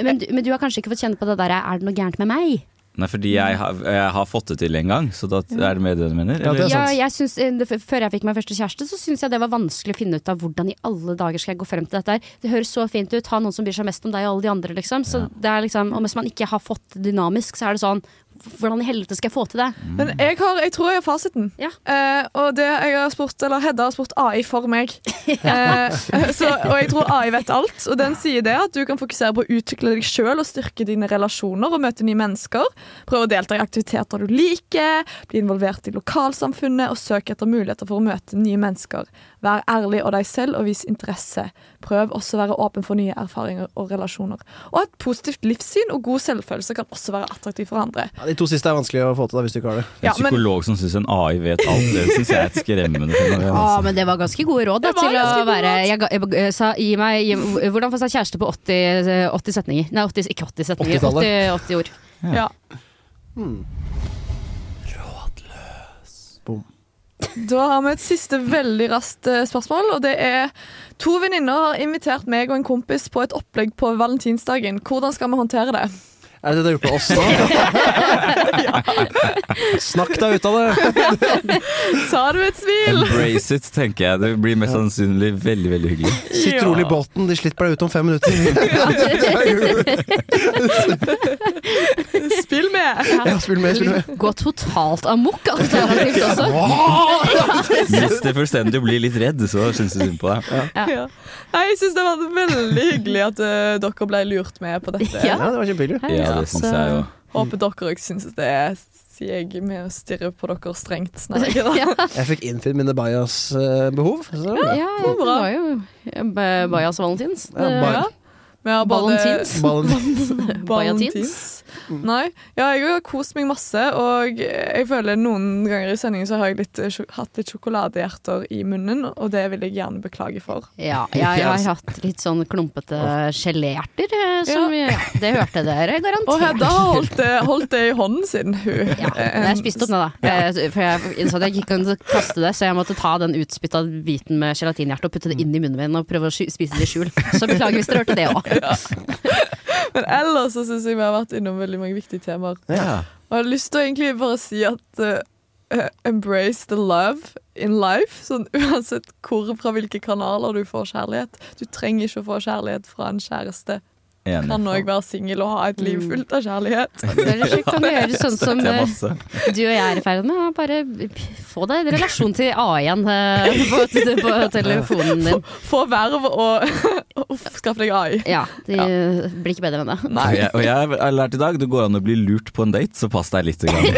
Men, du- men du har kanskje ikke fått kjenne på det der Er det noe gærent med meg?
Nei, fordi jeg har, jeg har fått det til en gang, så da er det med det du mener?
Ja, det er
eller?
sant.
Ja, jeg synes, eh, det- f- før jeg fikk min første kjæreste, så syntes jeg det var vanskelig å finne ut av hvordan i alle dager skal jeg gå frem til dette her. Det høres så fint ut, ha noen som bryr seg mest om deg og alle de andre, liksom. Så det er liksom, og hvis man ikke har fått det dynamisk, så er det sånn Hvordan i helvete skal jeg få til det?
Men jeg, har, jeg tror jeg har fasiten.
Ja.
Eh, og det jeg har spurt, eller Hedda har spurt AI for meg. Eh, så, og jeg tror AI vet alt. Og den sier det at du kan fokusere på å utvikle deg sjøl og styrke dine relasjoner og møte nye mennesker. Prøve å delta i aktiviteter du liker, bli involvert i lokalsamfunnet og søk etter muligheter for å møte nye mennesker. Vær ærlig og deg selv og vis interesse. Prøv også å være åpen for nye erfaringer og relasjoner. Og et positivt livssyn og god selvfølelse kan også være attraktivt for andre.
Ja, de to siste er vanskelig å få til da, hvis du ikke har det.
Ja,
En psykolog som syns en AI vet alt, det syns jeg er et skremmende
(laughs)
fenomen.
Ja,
altså.
Ah, men det var ganske gode råd da,
Det var
til å
ganske gode
være jeg, ga- jeg, eh, sa, gi meg, gi, Hvordan få seg kjæreste på 80, eh, 80 setninger? Nei, 80, ikke 80 setninger. 80,
80-tallet.
80 ord.
Ja.
Bom.
Da har vi et siste veldig raskt eh, spørsmål, og det er To venninner har invitert meg og en kompis på et opplegg på valentinsdagen. Hvordan skal vi håndtere det? (laughs)
Er det det du har gjort på oss nå? (laughs) Snakk deg ut av det!
Tar du et smil?
Embrace it, tenker jeg. Det blir mest sannsynlig veldig veldig hyggelig.
(laughs)
Sitt rolig i båten, de slipper deg ut om fem minutter.
Spill med!
Ja, spill med, spill med.
Gå totalt amok, alternativt også.
Mister fullstendig og blir litt redd, så syns jeg synd på deg.
(laughs) Ja. Nei, Jeg syns det var veldig hyggelig at eh, dere ble lurt med på dette.
Ja,
Ja.
det var kjempehyggelig.
Ja, det
altså.
syns jeg jo.
Håper dere òg syns det er sier jeg med å stirre på dere strengt. Nei, ikke da.
(laughs) Ja,
Jeg fikk innfridd mine eh, bajas-behov.
ja, ja, det var jo eh, ba- Bajas valentins.
Ja, ba-
Ja. Vi har både-
Valentins. Bajatins.
Valentins. Nei. Ja, jeg har kost meg masse, og jeg føler noen ganger i sendingen så har jeg litt, eh, sjo- hatt litt sjokoladehjerter i munnen, og det vil jeg gjerne beklage for.
Ja, jeg har hatt lilitt sånn klumpete geléhjerter. eh, Som, ja. det hørte dere
Og
garantert.
Hedda har holdt det, holdt det i hånden sin, hun.
Ja, men jeg spiste opp nå, da. Eh, For jeg innså at jeg ikke kunne kaste det, så jeg måtte ta den utspytta biten med gelatinhjerte og putte det inn i munnen min og prøve å sky- spise det i skjul. Så beklager hvis dere hørte det òg.
Men ellers så syns jeg vi har vært innom veldig mange viktige temaer.
Ja.
Og jeg har lyst til å egentlig bare si at eh, embrace the love in life. Sånn, uansett hvor fra hvilke kanaler du får kjærlighet. Du trenger ikke å få kjærlighet fra en kjæreste.
Enig.
Kan òg være singel og ha et liv fullt av kjærlighet.
Dere kan gjøre sånn som
Det er
eh,
masse.
du og jeg er i ferd med. og Bare få deg en relasjon til A1 eh, på, på telefonen din.
Få verv og (laughs) Uff, skaff deg AI.
Ja, det blir ikke bedre enn det.
Og jeg, og jeg har lært i dag det går an å bli lurt på en date, så pass deg litt. Grann.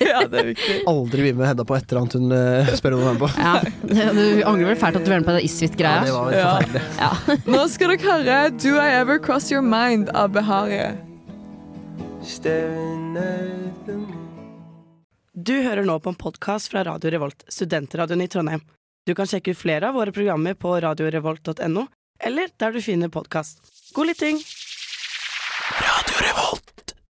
Ja, det er viktig.
Aldri bli med Hedda på et eller annet hun eh, spør om å være med på.
Ja, du angrer vel fælt at du er med på den
Ja,
Isfit-greia.
det var
Ja.
forferdelig.
Nå skal dere høre Do I Ever Cross Your Mind av Beharie.
Du hører nå på en podkast fra Radio Revolt, studentradioen i Trondheim. Du kan sjekke ut flere av våre programmer på radiorevolt.no, eller der du finner podkast. God lytting! Radio Revolt!